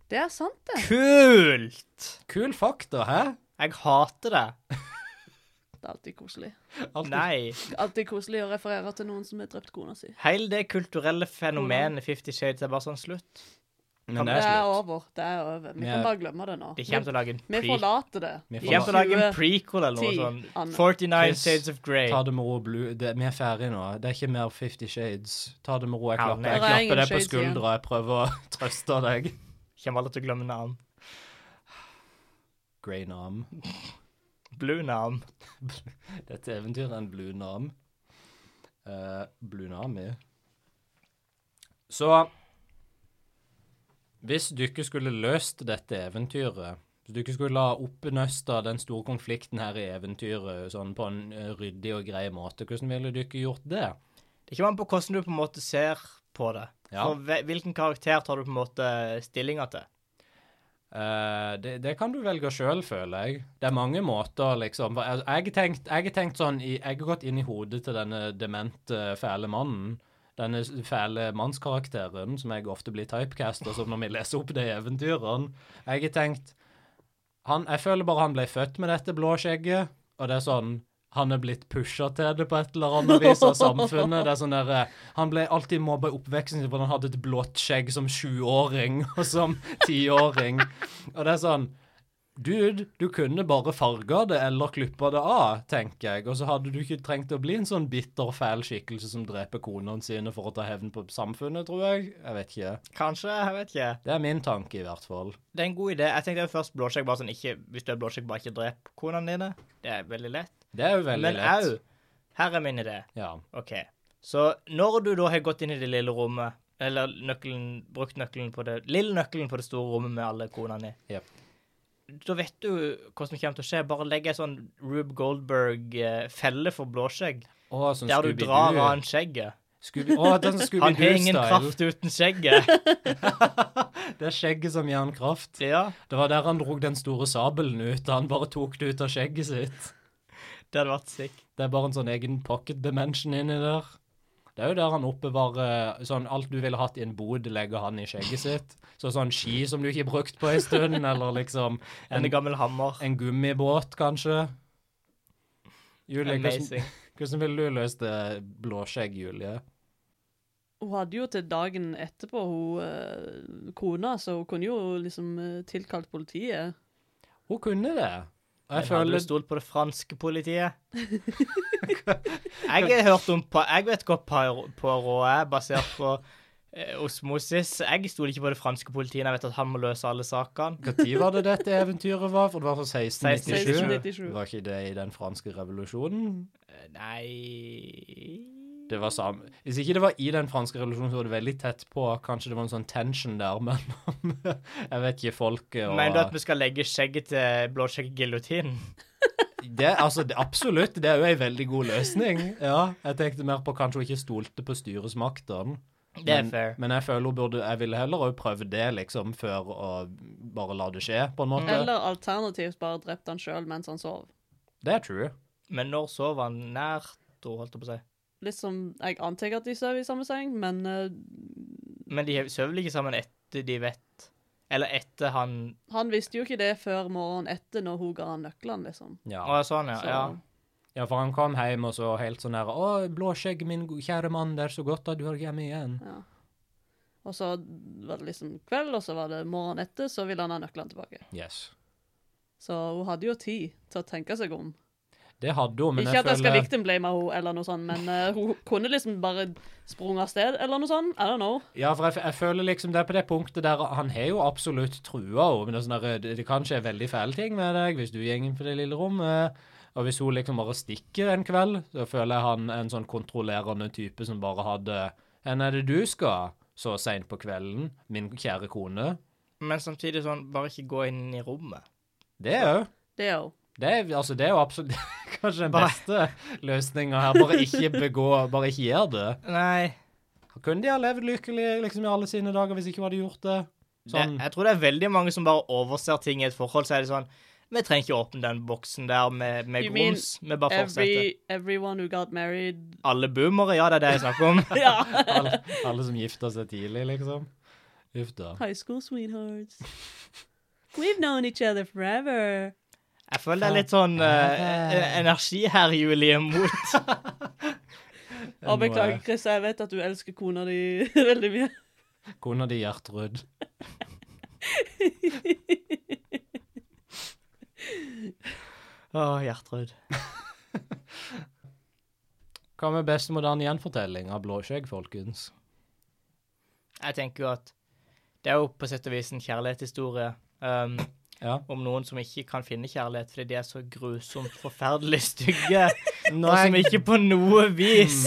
Speaker 1: Det er sant, det.
Speaker 2: kult!
Speaker 3: Kul fakta, hæ?
Speaker 2: Jeg hater det.
Speaker 1: Det er alltid koselig.
Speaker 3: Alt-
Speaker 2: Nei.
Speaker 1: Alltid koselig å referere til noen som har drept kona si.
Speaker 2: Hele det kulturelle fenomenet Fifty Shades er bare sånn slutt.
Speaker 3: Men det
Speaker 1: Det
Speaker 3: er
Speaker 1: er
Speaker 3: slutt.
Speaker 1: over. Det er over. Vi
Speaker 3: Vi
Speaker 1: kan
Speaker 3: er-
Speaker 1: bare glemme det nå.
Speaker 2: De kommer til å lage en
Speaker 1: Vi
Speaker 2: prequel.
Speaker 1: forlater det.
Speaker 3: Vi
Speaker 2: De kommer til å lage en
Speaker 1: 20.
Speaker 2: prequel eller noe
Speaker 1: 10,
Speaker 2: sånn.
Speaker 1: Anne.
Speaker 2: 49
Speaker 3: Chris,
Speaker 2: Shades of Grey.
Speaker 3: Ta det med ro, Blue. Det, vi er ferdige nå. Det er ikke mer Fifty Shades. Ta det med ro. Jeg
Speaker 2: Ja,
Speaker 3: klapper, jeg
Speaker 1: det er ingen
Speaker 3: klapper deg på
Speaker 1: shades igjen.
Speaker 3: skuldra. Jeg prøver å trøste deg.
Speaker 2: Kommer alle til å glemme navn.
Speaker 3: Grey Nam.
Speaker 2: Blue navn.
Speaker 3: Dette eventyret er en Blue Nam. Eh, Blue Nami. Så Hvis du ikke skulle løst dette eventyret Hvis du ikke skulle ha oppnøsta den store konflikten her i eventyret sånn på en eh, ryddig og grei måte, hvordan ville du ikke gjort det?
Speaker 2: Det kommer an på hvordan du på en måte ser på det.
Speaker 3: Ja.
Speaker 2: For hve- hvilken karakter tar du på en måte stillinga til?
Speaker 3: Eh, det, det kan du velge sjøl, føler jeg. Det er mange måter, liksom. Jeg jeg har tenkt, jeg har tenkt sånn i, Jeg har gått inn i hodet til denne demente, fæle mannen. Denne s- fæle mannskarakteren som jeg ofte blir typecasta som når vi leser opp det i eventyrene. Jeg har tenkt han, Jeg føler bare han ble født med dette blå skjegget, og det er sånn han er blitt pusha til det på et eller annet vis av samfunnet. Det er sånn der, eh, Han ble alltid mobba i oppveksten sin, for han hadde et blått skjegg som sjuåring og som tiåring. Og det er sånn Dude, du kunne bare farga det eller klippa det av, tenker jeg. Og så hadde du ikke trengt å bli en sånn bitter, fæl skikkelse som dreper konene sine for å ta hevn på samfunnet, tror jeg. Jeg vet ikke.
Speaker 2: Kanskje, jeg vet ikke.
Speaker 3: Det er min tanke, i hvert fall.
Speaker 2: Det er en god idé. Jeg tenkte jo først blåskjegg bare sånn ikke, Hvis du er blåskjegg, bare ikke drep konene dine. Det er veldig lett.
Speaker 3: Det er jo veldig
Speaker 2: Men
Speaker 3: lett.
Speaker 2: au, her er min idé.
Speaker 3: Ja.
Speaker 2: OK. Så når du da har gått inn i det lille rommet, eller nøkkelen, brukt nøkkelen på det lille nøkkelen på det store rommet med alle konene i,
Speaker 3: Jep.
Speaker 2: da vet du hva som kommer til å skje. Bare legg ei sånn Rube Goldberg-felle for blåskjegg,
Speaker 3: Å, sånn
Speaker 2: der du drar av
Speaker 3: Scooby-Doo.
Speaker 2: han skjegget.
Speaker 3: Scooby Å, det er sånn
Speaker 2: Han har ingen
Speaker 3: Scooby-Doo-style.
Speaker 2: kraft uten skjegget.
Speaker 3: Det er skjegget som gir han kraft.
Speaker 2: Ja,
Speaker 3: Det var der han drog den store sabelen ut. Han bare tok det ut av skjegget sitt.
Speaker 2: det hadde vært sick.
Speaker 3: Det er bare en sånn egen pocket dimension inni der. Det er jo der han oppbevarer sånn alt du ville hatt i en bod, legger han i skjegget sitt. Så sånn ski som du ikke har brukt på en stund, eller liksom en,
Speaker 2: En gammel hammer.
Speaker 3: en gummibåt, kanskje. Julie, hvordan,
Speaker 2: Amazing.
Speaker 3: hvordan ville du løst det blåskjegg, Julie?
Speaker 1: Hun hadde jo til dagen etterpå hun eh, kona, så hun kunne jo liksom eh, tilkalt politiet.
Speaker 3: Hun kunne det. Og jeg
Speaker 2: Men hadde
Speaker 3: føler
Speaker 2: du stolt på det franske politiet? jeg har hørt om Pa- Jeg vet hva Poirot Poirot er, basert på eh, osmosis. Jeg stoler ikke på det franske politiet. når Jeg vet at han må løse alle sakene.
Speaker 3: Når var det dette eventyret var? For det var fra 1697.
Speaker 1: 1697.
Speaker 3: Var ikke det i den franske revolusjonen?
Speaker 2: Eh, Nei
Speaker 3: Det var sam... Hvis ikke det var i den franske revolusjonen, så var det veldig tett på. Kanskje det var en sånn tension der mellom Jeg vet ikke, folket og
Speaker 2: Mener du at vi skal legge skjegget til blåskjegg-giljotinen?
Speaker 3: det, altså, det, Absolutt, det er jo ei veldig god løsning. Ja, Jeg tenkte mer på kanskje hun ikke stolte på styresmaktene.
Speaker 2: Det er
Speaker 3: Men-
Speaker 2: fair.
Speaker 3: Men jeg føler hun burde Jeg ville heller òg prøvd det, liksom, før å bare la det skje, på en måte.
Speaker 1: Eller alternativt bare drept han sjøl mens han sov.
Speaker 3: Det er true.
Speaker 2: Men når sov han nært henne, holdt jeg på å si?
Speaker 1: Litt som Jeg antar at de sover i samme seng, men eh,
Speaker 2: Men de sover vel ikke sammen etter de vet. Eller etter han
Speaker 1: Han visste jo ikke det før morgenen etter, når hun ga han nøklene, liksom.
Speaker 3: Ja.
Speaker 2: Å, sånn, ja.
Speaker 1: Så-
Speaker 2: ja.
Speaker 3: ja, for han kom hjem og så helt sånn her Å, blåskjegg, min go- kjære mann, det er så godt at du er hjemme igjen.
Speaker 1: Ja. Og så var det liksom kveld, og så var det morgenen etter, så ville han ha nøklene tilbake.
Speaker 3: Yes.
Speaker 1: Så hun hadde jo tid til å tenke seg om.
Speaker 3: Det hadde hun, men
Speaker 1: ikke
Speaker 3: jeg
Speaker 1: at jeg skal
Speaker 3: føler
Speaker 1: victimblame henne, eller noe sånt, men eh, hun kunne liksom bare sprunget av sted, eller noe sånt. I don't know.
Speaker 3: Ja, for jeg, f- jeg føler liksom det er på det punktet der Han har jo absolutt trua henne, men det, er sånn der, det, det kan skje veldig fæle ting med deg hvis du går på det lille rommet. Og hvis hun liksom bare stikker en kveld, så føler jeg han er en sånn kontrollerende type som bare hadde Enn er det du skal så seint på kvelden, min kjære kone?
Speaker 2: Men samtidig sånn, bare ikke gå inn i rommet.
Speaker 3: Det er jo
Speaker 1: Det er jo
Speaker 3: Det er, altså, det er jo absolutt kanskje den
Speaker 2: Bare-
Speaker 3: beste løsninga her. Bare ikke begå, bare ikke gjør det.
Speaker 2: Nei.
Speaker 3: Kunne de ha levd lykkelig liksom, i alle sine dager hvis ikke hun hadde gjort det? Sånn,
Speaker 2: Det, jeg tror det er veldig mange som bare overser ting i et forhold. Så er det sånn Vi trenger ikke åpne den boksen der med, med
Speaker 1: You mean
Speaker 2: grums. Vi bare fortsetter.
Speaker 1: every, everyone who got married
Speaker 2: Alle boomere, ja, det er det jeg snakker om.
Speaker 1: Ja.
Speaker 3: alle, alle som gifter seg tidlig, liksom. Uff da.
Speaker 1: High school sweethearts. We've known each other forever.
Speaker 2: Jeg føler det er litt sånn eh, energi her, Julie, mot
Speaker 1: Og
Speaker 3: Nå er
Speaker 1: beklager, Chris, jeg vet at du elsker kona di veldig mye.
Speaker 3: Kona di Gjertrud.
Speaker 2: Å, Gjertrud.
Speaker 3: Hva med beste moderne gjenfortelling av Blåskjegg, folkens?
Speaker 2: Jeg tenker jo at det er jo på sett og vis en kjærlighetshistorie um,
Speaker 3: Ja.
Speaker 2: om noen som ikke kan finne kjærlighet fordi de er så grusomt forferdelig stygge,
Speaker 3: Nå
Speaker 2: og
Speaker 3: er Mm.
Speaker 2: som
Speaker 3: jeg-
Speaker 2: ikke på noe vis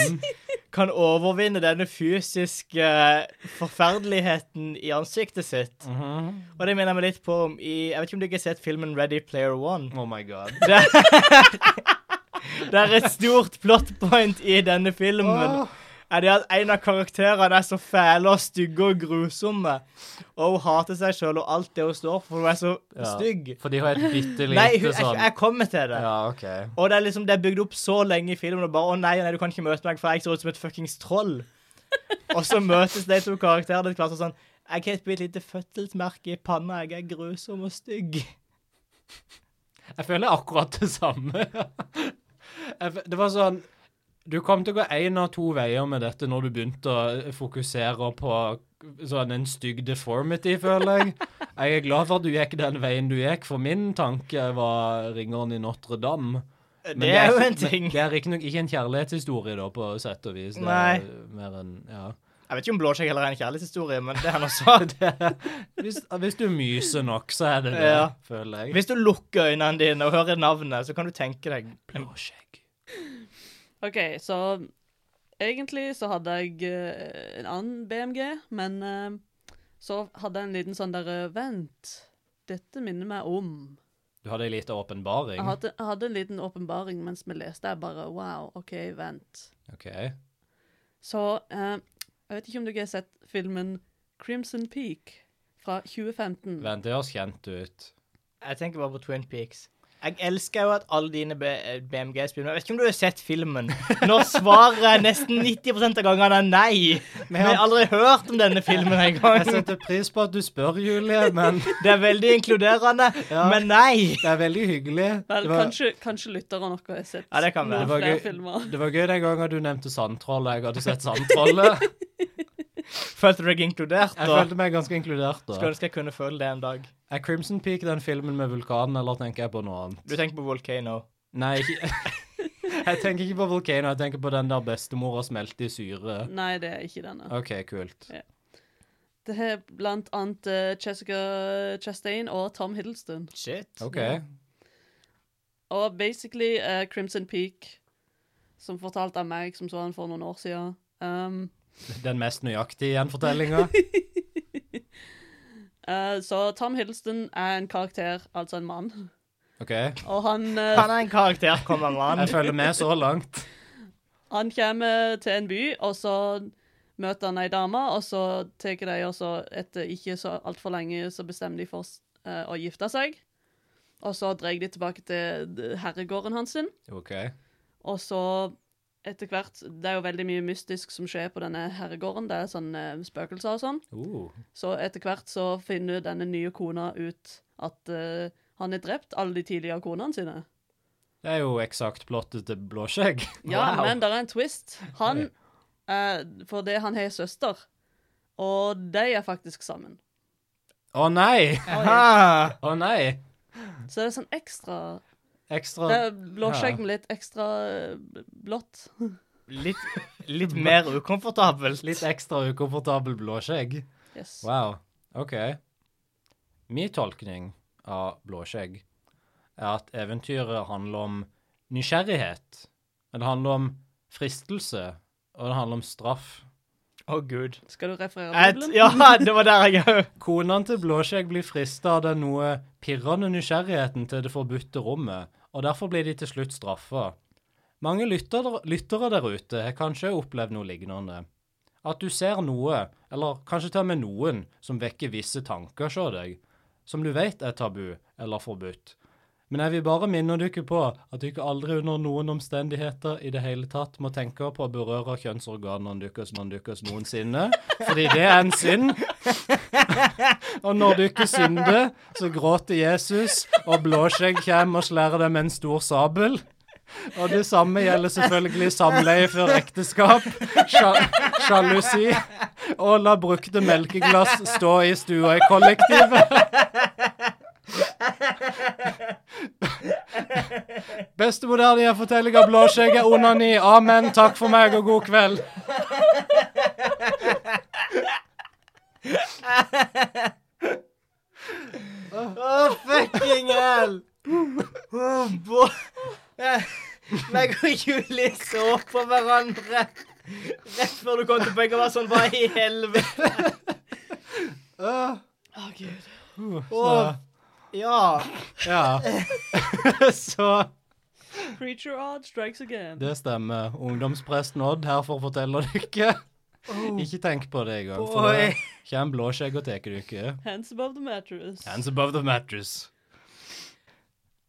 Speaker 2: kan overvinne denne fysiske eh, forferdeligheten i ansiktet sitt.
Speaker 3: Mhm.
Speaker 2: Og det minner jeg meg litt på om i Jeg vet ikke om dere har sett filmen Ready Player One?
Speaker 3: Oh my god.
Speaker 2: Det er, det er et stort plot point i denne filmen.
Speaker 3: Åh.
Speaker 2: Er det at en av karakterene er så fæle og stygge og grusomme. Og hun hater seg sjøl og alt det hun står for, for hun er så
Speaker 3: Ja.
Speaker 2: stygg.
Speaker 3: Fordi hun er et bitte lite
Speaker 2: Nei, hun, jeg,
Speaker 3: sånn
Speaker 2: jeg kommer til det.
Speaker 3: Ja, OK.
Speaker 2: Og det er liksom, det er bygd opp så lenge i filmen, og bare 'Å nei, nei, du kan ikke møte meg, for jeg ser ut som et fuckings troll'. og så møtes de to karakterene etter hvert og sånn 'Jeg har et bitte lite fødselsmerke i panna, jeg er grusom og stygg'.
Speaker 3: Jeg føler akkurat det samme. Jeg f- det var sånn Du kom til å gå én av to veier med dette når du begynte å eh, fokusere på sånn en stygg deformity, føler jeg. Jeg er glad for at du gikk den veien du gikk, for min tanke var ringeren i Notre-Dame. Men
Speaker 2: Eh, det er jo
Speaker 3: ikke-
Speaker 2: en ting.
Speaker 3: Men det er riktignok ikke en kjærlighetshistorie, da, på sett og vis. Det
Speaker 2: Nei.
Speaker 3: er mer enn Ja.
Speaker 2: Jeg vet ikke om blåskjegg heller er en kjærlighetshistorie, men det er noe sånt.
Speaker 3: Hvis, hvis du myser nok, så er det det,
Speaker 2: Ja.
Speaker 3: føler jeg.
Speaker 2: Hvis du lukker øynene dine og hører navnet, så kan du tenke deg
Speaker 3: Blåskjegg.
Speaker 1: OK, så egentlig så hadde jeg eh, en annen BMG, men eh, så hadde jeg en liten sånn derre Vent, dette minner meg om
Speaker 3: Du hadde ei lita åpenbaring.
Speaker 1: jeg hadde, jeg hadde en liten åpenbaring mens vi leste. Jeg bare Wow, OK, vent.
Speaker 3: OK.
Speaker 1: Så eh, jeg vet ikke om dere har sett filmen Crimson Peak fra 2015.
Speaker 3: Vent, det høres kjent ut.
Speaker 2: Jeg tenker bare på Twin Peaks. Jeg elsker jo at alle dine eh, BMGs begynner Jeg vet ikke om du har sett filmen, når svaret nesten 90 av gangene er nei. Vi har aldri hørt om denne filmen
Speaker 3: Jeg
Speaker 2: engang.
Speaker 3: setter pris på at du spør, Julie, men
Speaker 2: Det er veldig inkluderende, men nei.
Speaker 3: det er veldig hyggelig.
Speaker 1: Vel,
Speaker 3: det, var,
Speaker 1: kanskje, kanskje lytterne dere har sett
Speaker 2: Ja, det kan være.
Speaker 1: noen
Speaker 3: Det var
Speaker 1: flere
Speaker 3: gøy.
Speaker 1: filmer.
Speaker 3: det var gøy den gangen du nevnte sandtrollet. Jeg hadde sett sandtrollet.
Speaker 2: Følte du deg inkludert,
Speaker 3: Jeg
Speaker 2: da?
Speaker 3: følte meg ganske inkludert
Speaker 2: Skulle
Speaker 3: da.
Speaker 2: ønske jeg kunne føle det en dag.
Speaker 3: Er Crimson Peak den filmen med vulkanen, eller tenker jeg på noe annet?
Speaker 2: Du tenker på Volcano.
Speaker 3: Nei, ikke Jeg tenker ikke på vulkanen, jeg tenker på den der bestemora smelte i syre.
Speaker 1: Nei, det er ikke denne.
Speaker 3: OK, kult.
Speaker 1: Det er blant annet eh, Jessica Chastain og Tom Hiddleston.
Speaker 2: Shit.
Speaker 3: OK.
Speaker 1: Og basically eh, Crimson Peak, som fortalte av meg som så han for noen år siden. Um,
Speaker 3: Den mest nøyaktige gjenfortellinga.
Speaker 1: eh, så Tom Hiddleston er en karakter, altså en mann.
Speaker 3: OK.
Speaker 1: Og han, eh,
Speaker 2: Han er en karakter, kommer mann.
Speaker 3: Jeg følger med så langt.
Speaker 1: han kommer til en by, og så møter han ei dame, og så tar de og så etter ikke så altfor lenge så bestemmer de for eh, å gifte seg. Og så drar de tilbake til eh, herregården hans sin.
Speaker 3: OK.
Speaker 1: Og så etter hvert Det er jo veldig mye mystisk som skjer på denne herregården. Det er sånne eh, spøkelser og sånn.
Speaker 3: Uh.
Speaker 1: Så etter hvert så finner denne nye kona ut at eh, han har drept alle de tidligere konene sine.
Speaker 3: Det er jo eksakt plottet til Blåskjegg.
Speaker 1: Ja,
Speaker 3: Wow.
Speaker 1: men det er en twist. Han eh, For det han har søster, og de er faktisk sammen.
Speaker 3: Å nei!
Speaker 2: Ah,
Speaker 3: Å nei!
Speaker 1: Så det er sånn ekstra Det
Speaker 3: Ekstra
Speaker 1: er blåskjegg med litt ekstra eh, blått.
Speaker 2: litt, litt mer ukomfortabelt.
Speaker 3: Litt ekstra ukomfortabel blåskjegg.
Speaker 1: Yes.
Speaker 3: Wow. OK. Min tolkning av blåskjegg er at eventyret handler om nysgjerrighet. Det handler om fristelse, og det handler om straff.
Speaker 2: Å, gud.
Speaker 1: Skal du referere
Speaker 2: Et,
Speaker 1: Bibelen?
Speaker 2: ja, det var der jeg òg
Speaker 3: Konene til Blåskjegg blir frista av den noe pirrende nysgjerrigheten til det forbudte rommet, og derfor blir de til slutt straffa. Mange lytter, lyttere der ute har kanskje opplevd noe lignende. At du ser noe, eller kanskje til og med noen, som vekker visse tanker hos deg, som du vet er tabu eller forbudt. Men jeg vil bare minne dere på at dere aldri under noen omstendigheter i det hele tatt må tenke på å berøre kjønnsorganene deres når deres noensinne, fordi det er en synd. Og når du ikke synder, så gråter Jesus, og blåskjegg kommer og slærer deg med en stor sabel. Og det samme gjelder selvfølgelig samleie før ekteskap, sja- sjalusi og la brukte melkeglass stå i stua i kollektivet. Beste moderne gjenfortelling av blåskjegg er onani. Amen. Takk for meg og god kveld.
Speaker 2: Å, fucking hell! Oh, bo- Eh, Meg og Julie så på hverandre rett før du kom til poenget. Var sånn, hva i helvete?
Speaker 1: Å, Gud.
Speaker 3: Så,
Speaker 2: Ja.
Speaker 3: ja. Så
Speaker 1: Preacher odd strikes again.
Speaker 3: Det stemmer. Ungdomspresten Odd her for å fortelle dere. Ikke tenk på det engang, for
Speaker 2: Oi.
Speaker 3: det kommer blåskjegg og tar dere.
Speaker 1: Hands above the mattress.
Speaker 3: Hands above the mattress.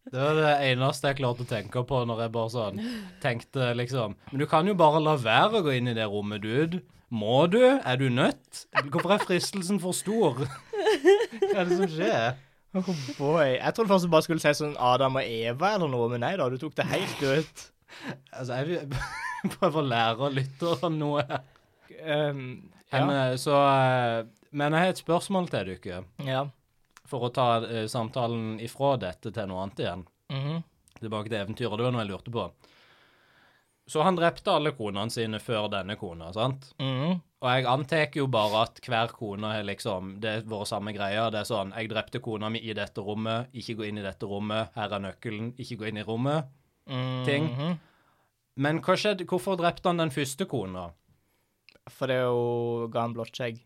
Speaker 3: Det var det eneste jeg klarte å tenke på når jeg bare sånn tenkte liksom Men du kan jo bare la være å gå inn i det rommet, dude. Må du? Er du nødt? Hvorfor er fristelsen for stor? Hva er det som skjer?
Speaker 2: Oh boy. Jeg trodde først du bare skulle si sånn Adam og Eva eller noe, men nei da, du tok det helt ut.
Speaker 3: Altså, jeg vil prøve å lære lytterne noe. her.
Speaker 2: Um,
Speaker 3: Men,
Speaker 2: ja.
Speaker 3: eh, Så eh, Men jeg har et spørsmål til dere.
Speaker 2: ja.
Speaker 3: for å ta eh, samtalen ifra dette til noe annet igjen.
Speaker 2: Mhm.
Speaker 3: Tilbake til eventyret. Det var noe jeg lurte på. Så han drepte alle konene sine før denne kona, sant?
Speaker 2: Mhm.
Speaker 3: Og jeg antar jo bare at hver kone har liksom Det har vært samme greia. Det er sånn Jeg drepte kona mi i dette rommet. Ikke gå inn i dette rommet. Her er nøkkelen. Ikke gå inn i rommet. Ting.
Speaker 2: Mhm.
Speaker 3: Men hva skjedde? Hvorfor drepte han den første kona?
Speaker 2: For det er jo ga han blått skjegg.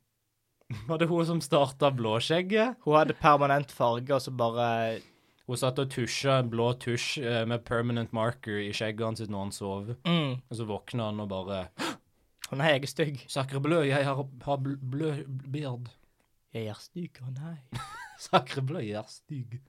Speaker 3: Var det hun som starta blåskjegget?
Speaker 2: Hun hadde permanent farge, og så bare
Speaker 3: Hun satt og tusja en blå tusj eh, med permanent marker i skjegget hans når han sov.
Speaker 2: mm.
Speaker 3: Og så våkna han og bare
Speaker 2: Hun er jeg er stygg.
Speaker 3: Sakre blø, jeg har, har bl- blø beard.
Speaker 2: Jeg er stygg, å nei.
Speaker 3: Sakre blø, jeg er stygg.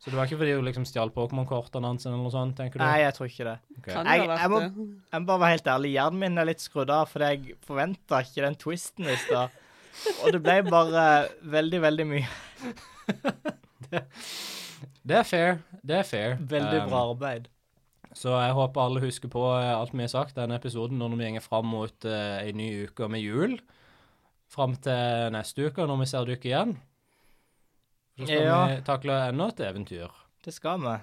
Speaker 3: Så det var ikke fordi hun liksom stjal Pokémon-kortene hans eller noe sånt, tenker du?
Speaker 2: Nei, jeg tror ikke det.
Speaker 3: Ok.
Speaker 1: Kan
Speaker 2: Jeg-
Speaker 1: jo ha
Speaker 2: jeg må-
Speaker 1: vært det.
Speaker 2: Jeg må bare være helt ærlig, hjernen min er litt skrudd av, fordi jeg forventa ikke den twisten i stad. Og det ble bare veldig, veldig mye.
Speaker 3: Det er fair. Det er fair.
Speaker 2: Veldig
Speaker 3: Um,
Speaker 2: bra arbeid.
Speaker 3: Så jeg håper alle husker på eh, alt vi har sagt denne episoden når vi går fram mot eh, ei ny uke med jul. Fram til neste uke, når vi ser dere igjen. Så skal
Speaker 2: Ja.
Speaker 3: vi takle enda et eventyr.
Speaker 2: Det skal vi.
Speaker 3: Hva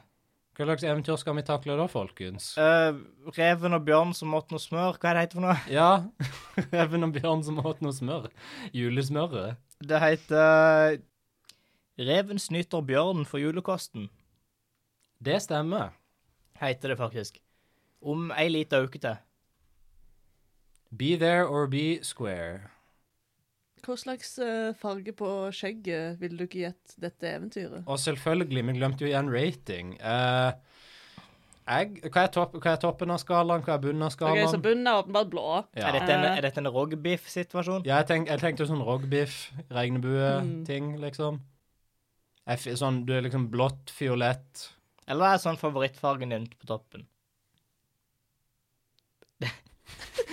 Speaker 3: slags eventyr skal vi takle da, folkens?
Speaker 2: Eh, reven og bjørn som åt noe smør, hva er det heter for noe?
Speaker 3: Ja. Even og Bjørn som åt noe smør. Julesmøret.
Speaker 2: Det heter Reven snyter bjørnen for julekosten,
Speaker 3: Det stemmer.
Speaker 2: heter det faktisk. Om ei lita uke til.
Speaker 3: Be there or be square.
Speaker 1: Hva slags eh, farge på skjegget vil du ikke gjette dette eventyret?
Speaker 3: Og selvfølgelig, vi glemte jo igjen rating. Eh, jeg, hva, er topp, hva er toppen av skalaen? Hva er bunnen av
Speaker 1: Ok,
Speaker 3: skalaen?
Speaker 1: Så bunnen er åpenbart blå.
Speaker 2: Er,
Speaker 3: ja.
Speaker 2: dette en, er dette en rogbiff-situasjon?
Speaker 3: ja, jeg, tenk, jeg tenkte sånn rogbiff,
Speaker 1: Mm.
Speaker 3: regnbue-ting, liksom. Jeg, fi- sånn, du er liksom blått, fiolett
Speaker 2: Eller er det sånn favorittfargen din på toppen?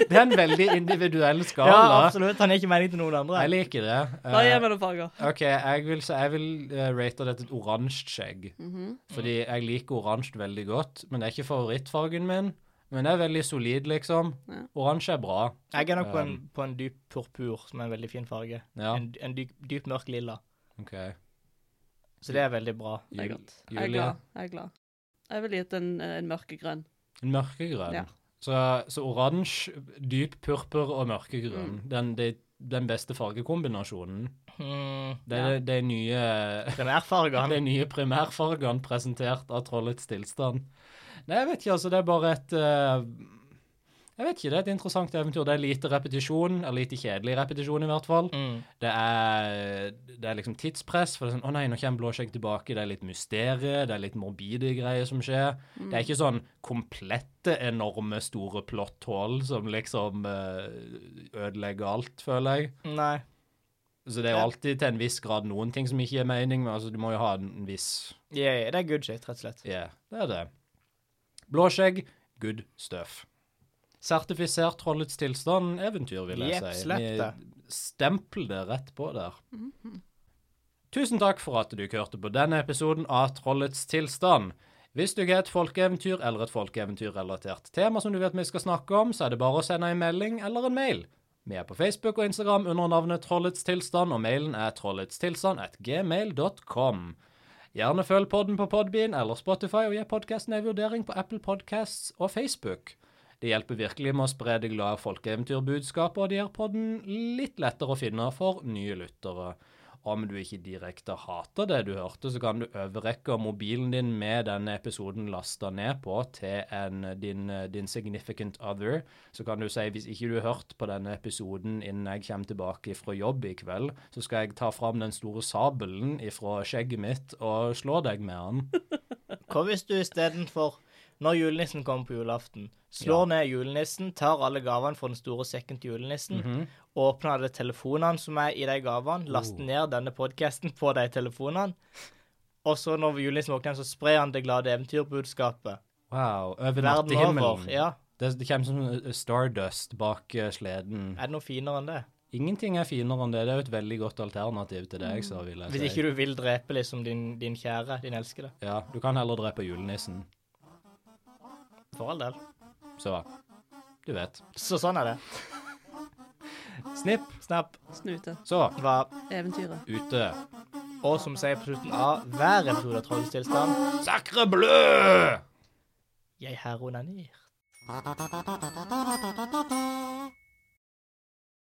Speaker 3: Det er en veldig individuell
Speaker 2: Ja,
Speaker 3: skala.
Speaker 2: absolutt. Han er ikke meningen til noen andre.
Speaker 3: jeg liker det.
Speaker 1: Da
Speaker 3: Eh,
Speaker 1: gir vi det farger.
Speaker 3: OK, jeg vil, så jeg vil eh, rate det til et oransje skjegg.
Speaker 1: Mhm.
Speaker 3: Fordi jeg liker oransje veldig godt, men det er ikke favorittfargen min. Men det er veldig solid, liksom.
Speaker 1: Ja.
Speaker 3: Oransje er bra.
Speaker 2: Jeg er nok på en, på en dyp purpur, som er en veldig fin farge.
Speaker 3: Ja,
Speaker 2: En, en dyp, dyp mørk lilla.
Speaker 3: OK.
Speaker 2: Så det er veldig bra.
Speaker 1: Det er
Speaker 3: Jul-
Speaker 1: godt. Jeg er
Speaker 3: Julia?
Speaker 1: glad. Jeg er glad. Jeg vil gi det en, en mørkegrønn.
Speaker 3: En mørkegrønn.
Speaker 1: Ja.
Speaker 3: Så, så oransje, dyp purpur og mørkegrønn.
Speaker 1: Mm.
Speaker 3: Den, det, den beste fargekombinasjonen.
Speaker 2: Mm,
Speaker 3: Det er de nye,
Speaker 2: Primærfargene.
Speaker 3: de nye primærfargene presentert av Trollets tilstand. Nei, jeg vet ikke, altså. Det er bare et eh, Jeg vet ikke, det er et interessant eventyr. Det er lite repetisjon, eller lite kjedelig repetisjon, i hvert fall.
Speaker 2: Mm.
Speaker 3: Det er, det er liksom tidspress, for det er sånn 'Å nei, nå kommer Blåskjegg tilbake.' Det er litt mysterie, det er litt morbide greier som skjer. Det er ikke sånn komplette, enorme, store plotthull som liksom eh, ødelegger alt, føler jeg.
Speaker 2: Nei.
Speaker 3: Så det er jo alltid til en viss grad noen ting som ikke gir mening, men altså, du må jo ha en viss
Speaker 2: Ja, ja, det er good shit, rett og slett.
Speaker 3: Ja, det er det. Blåskjegg, good stuff. Sertifisert trollets tilstand, eventyr, vil jeg
Speaker 2: Jepp,
Speaker 3: si.
Speaker 2: slepp
Speaker 3: Vi
Speaker 2: det.
Speaker 3: Stempel det rett på der. Tusen takk for at du ikke hørte på denne episoden av Trollets tilstand. Hvis du har et folkeeventyr eller et folkeeventyrrelatert tema som du vet vi skal snakke om, så er det bare å sende en melding eller en mail. Vi er på Facebook og Instagram under navnet Trollets tilstand, og mailen er trolletstilstand.gmail.com. Gjerne følg podden på Podbean eller Spotify, og gi podkasten en vurdering på Apple Podcasts og Facebook. Det hjelper virkelig med å spre det glade folkeeventyrbudskapet, og det gjør podden litt lettere å finne for nye lyttere. Om du ikke direkte hater det du hørte, så kan du overrekke mobilen din med denne episoden lasta ned på til en, din, din significant other. Så kan du si hvis ikke du har hørt på denne episoden innen jeg kommer tilbake fra jobb i kveld, så skal jeg ta fram den store sabelen ifra skjegget mitt og slå deg med den.
Speaker 2: Hva hvis du istedenfor, når julenissen kommer på julaften, slår ned julenissen, tar alle gavene fra den store sekken til julenissen, åpner alle telefonene som er i de gavene, laster ned denne podkasten på de telefonene, og så når julenissen våkner, så sprer han det glade eventyrbudskapet
Speaker 3: Wow. Over
Speaker 2: verden over.
Speaker 3: nattehimmelen.
Speaker 2: Ja.
Speaker 3: Det, det kommer som stardust bak eh, sleden.
Speaker 2: Er det noe finere enn det?
Speaker 3: Ingenting er finere enn det. Det er jo et veldig godt alternativ til det jeg sa, vil jeg si.
Speaker 2: Hvis ikke du vil drepe liksom din, din kjære, din elskede.
Speaker 3: Ja, du kan heller drepe julenissen.
Speaker 2: For all del.
Speaker 3: Så du vet.
Speaker 2: Så sånn er det.
Speaker 3: Snipp,
Speaker 2: Snap
Speaker 1: Snute.
Speaker 3: så
Speaker 2: var
Speaker 1: Eventyret.
Speaker 3: ute.
Speaker 2: Og som sier på slutten av hver episode av Trollets tilstand,
Speaker 3: Sakre blø!
Speaker 2: jeg her onanerer.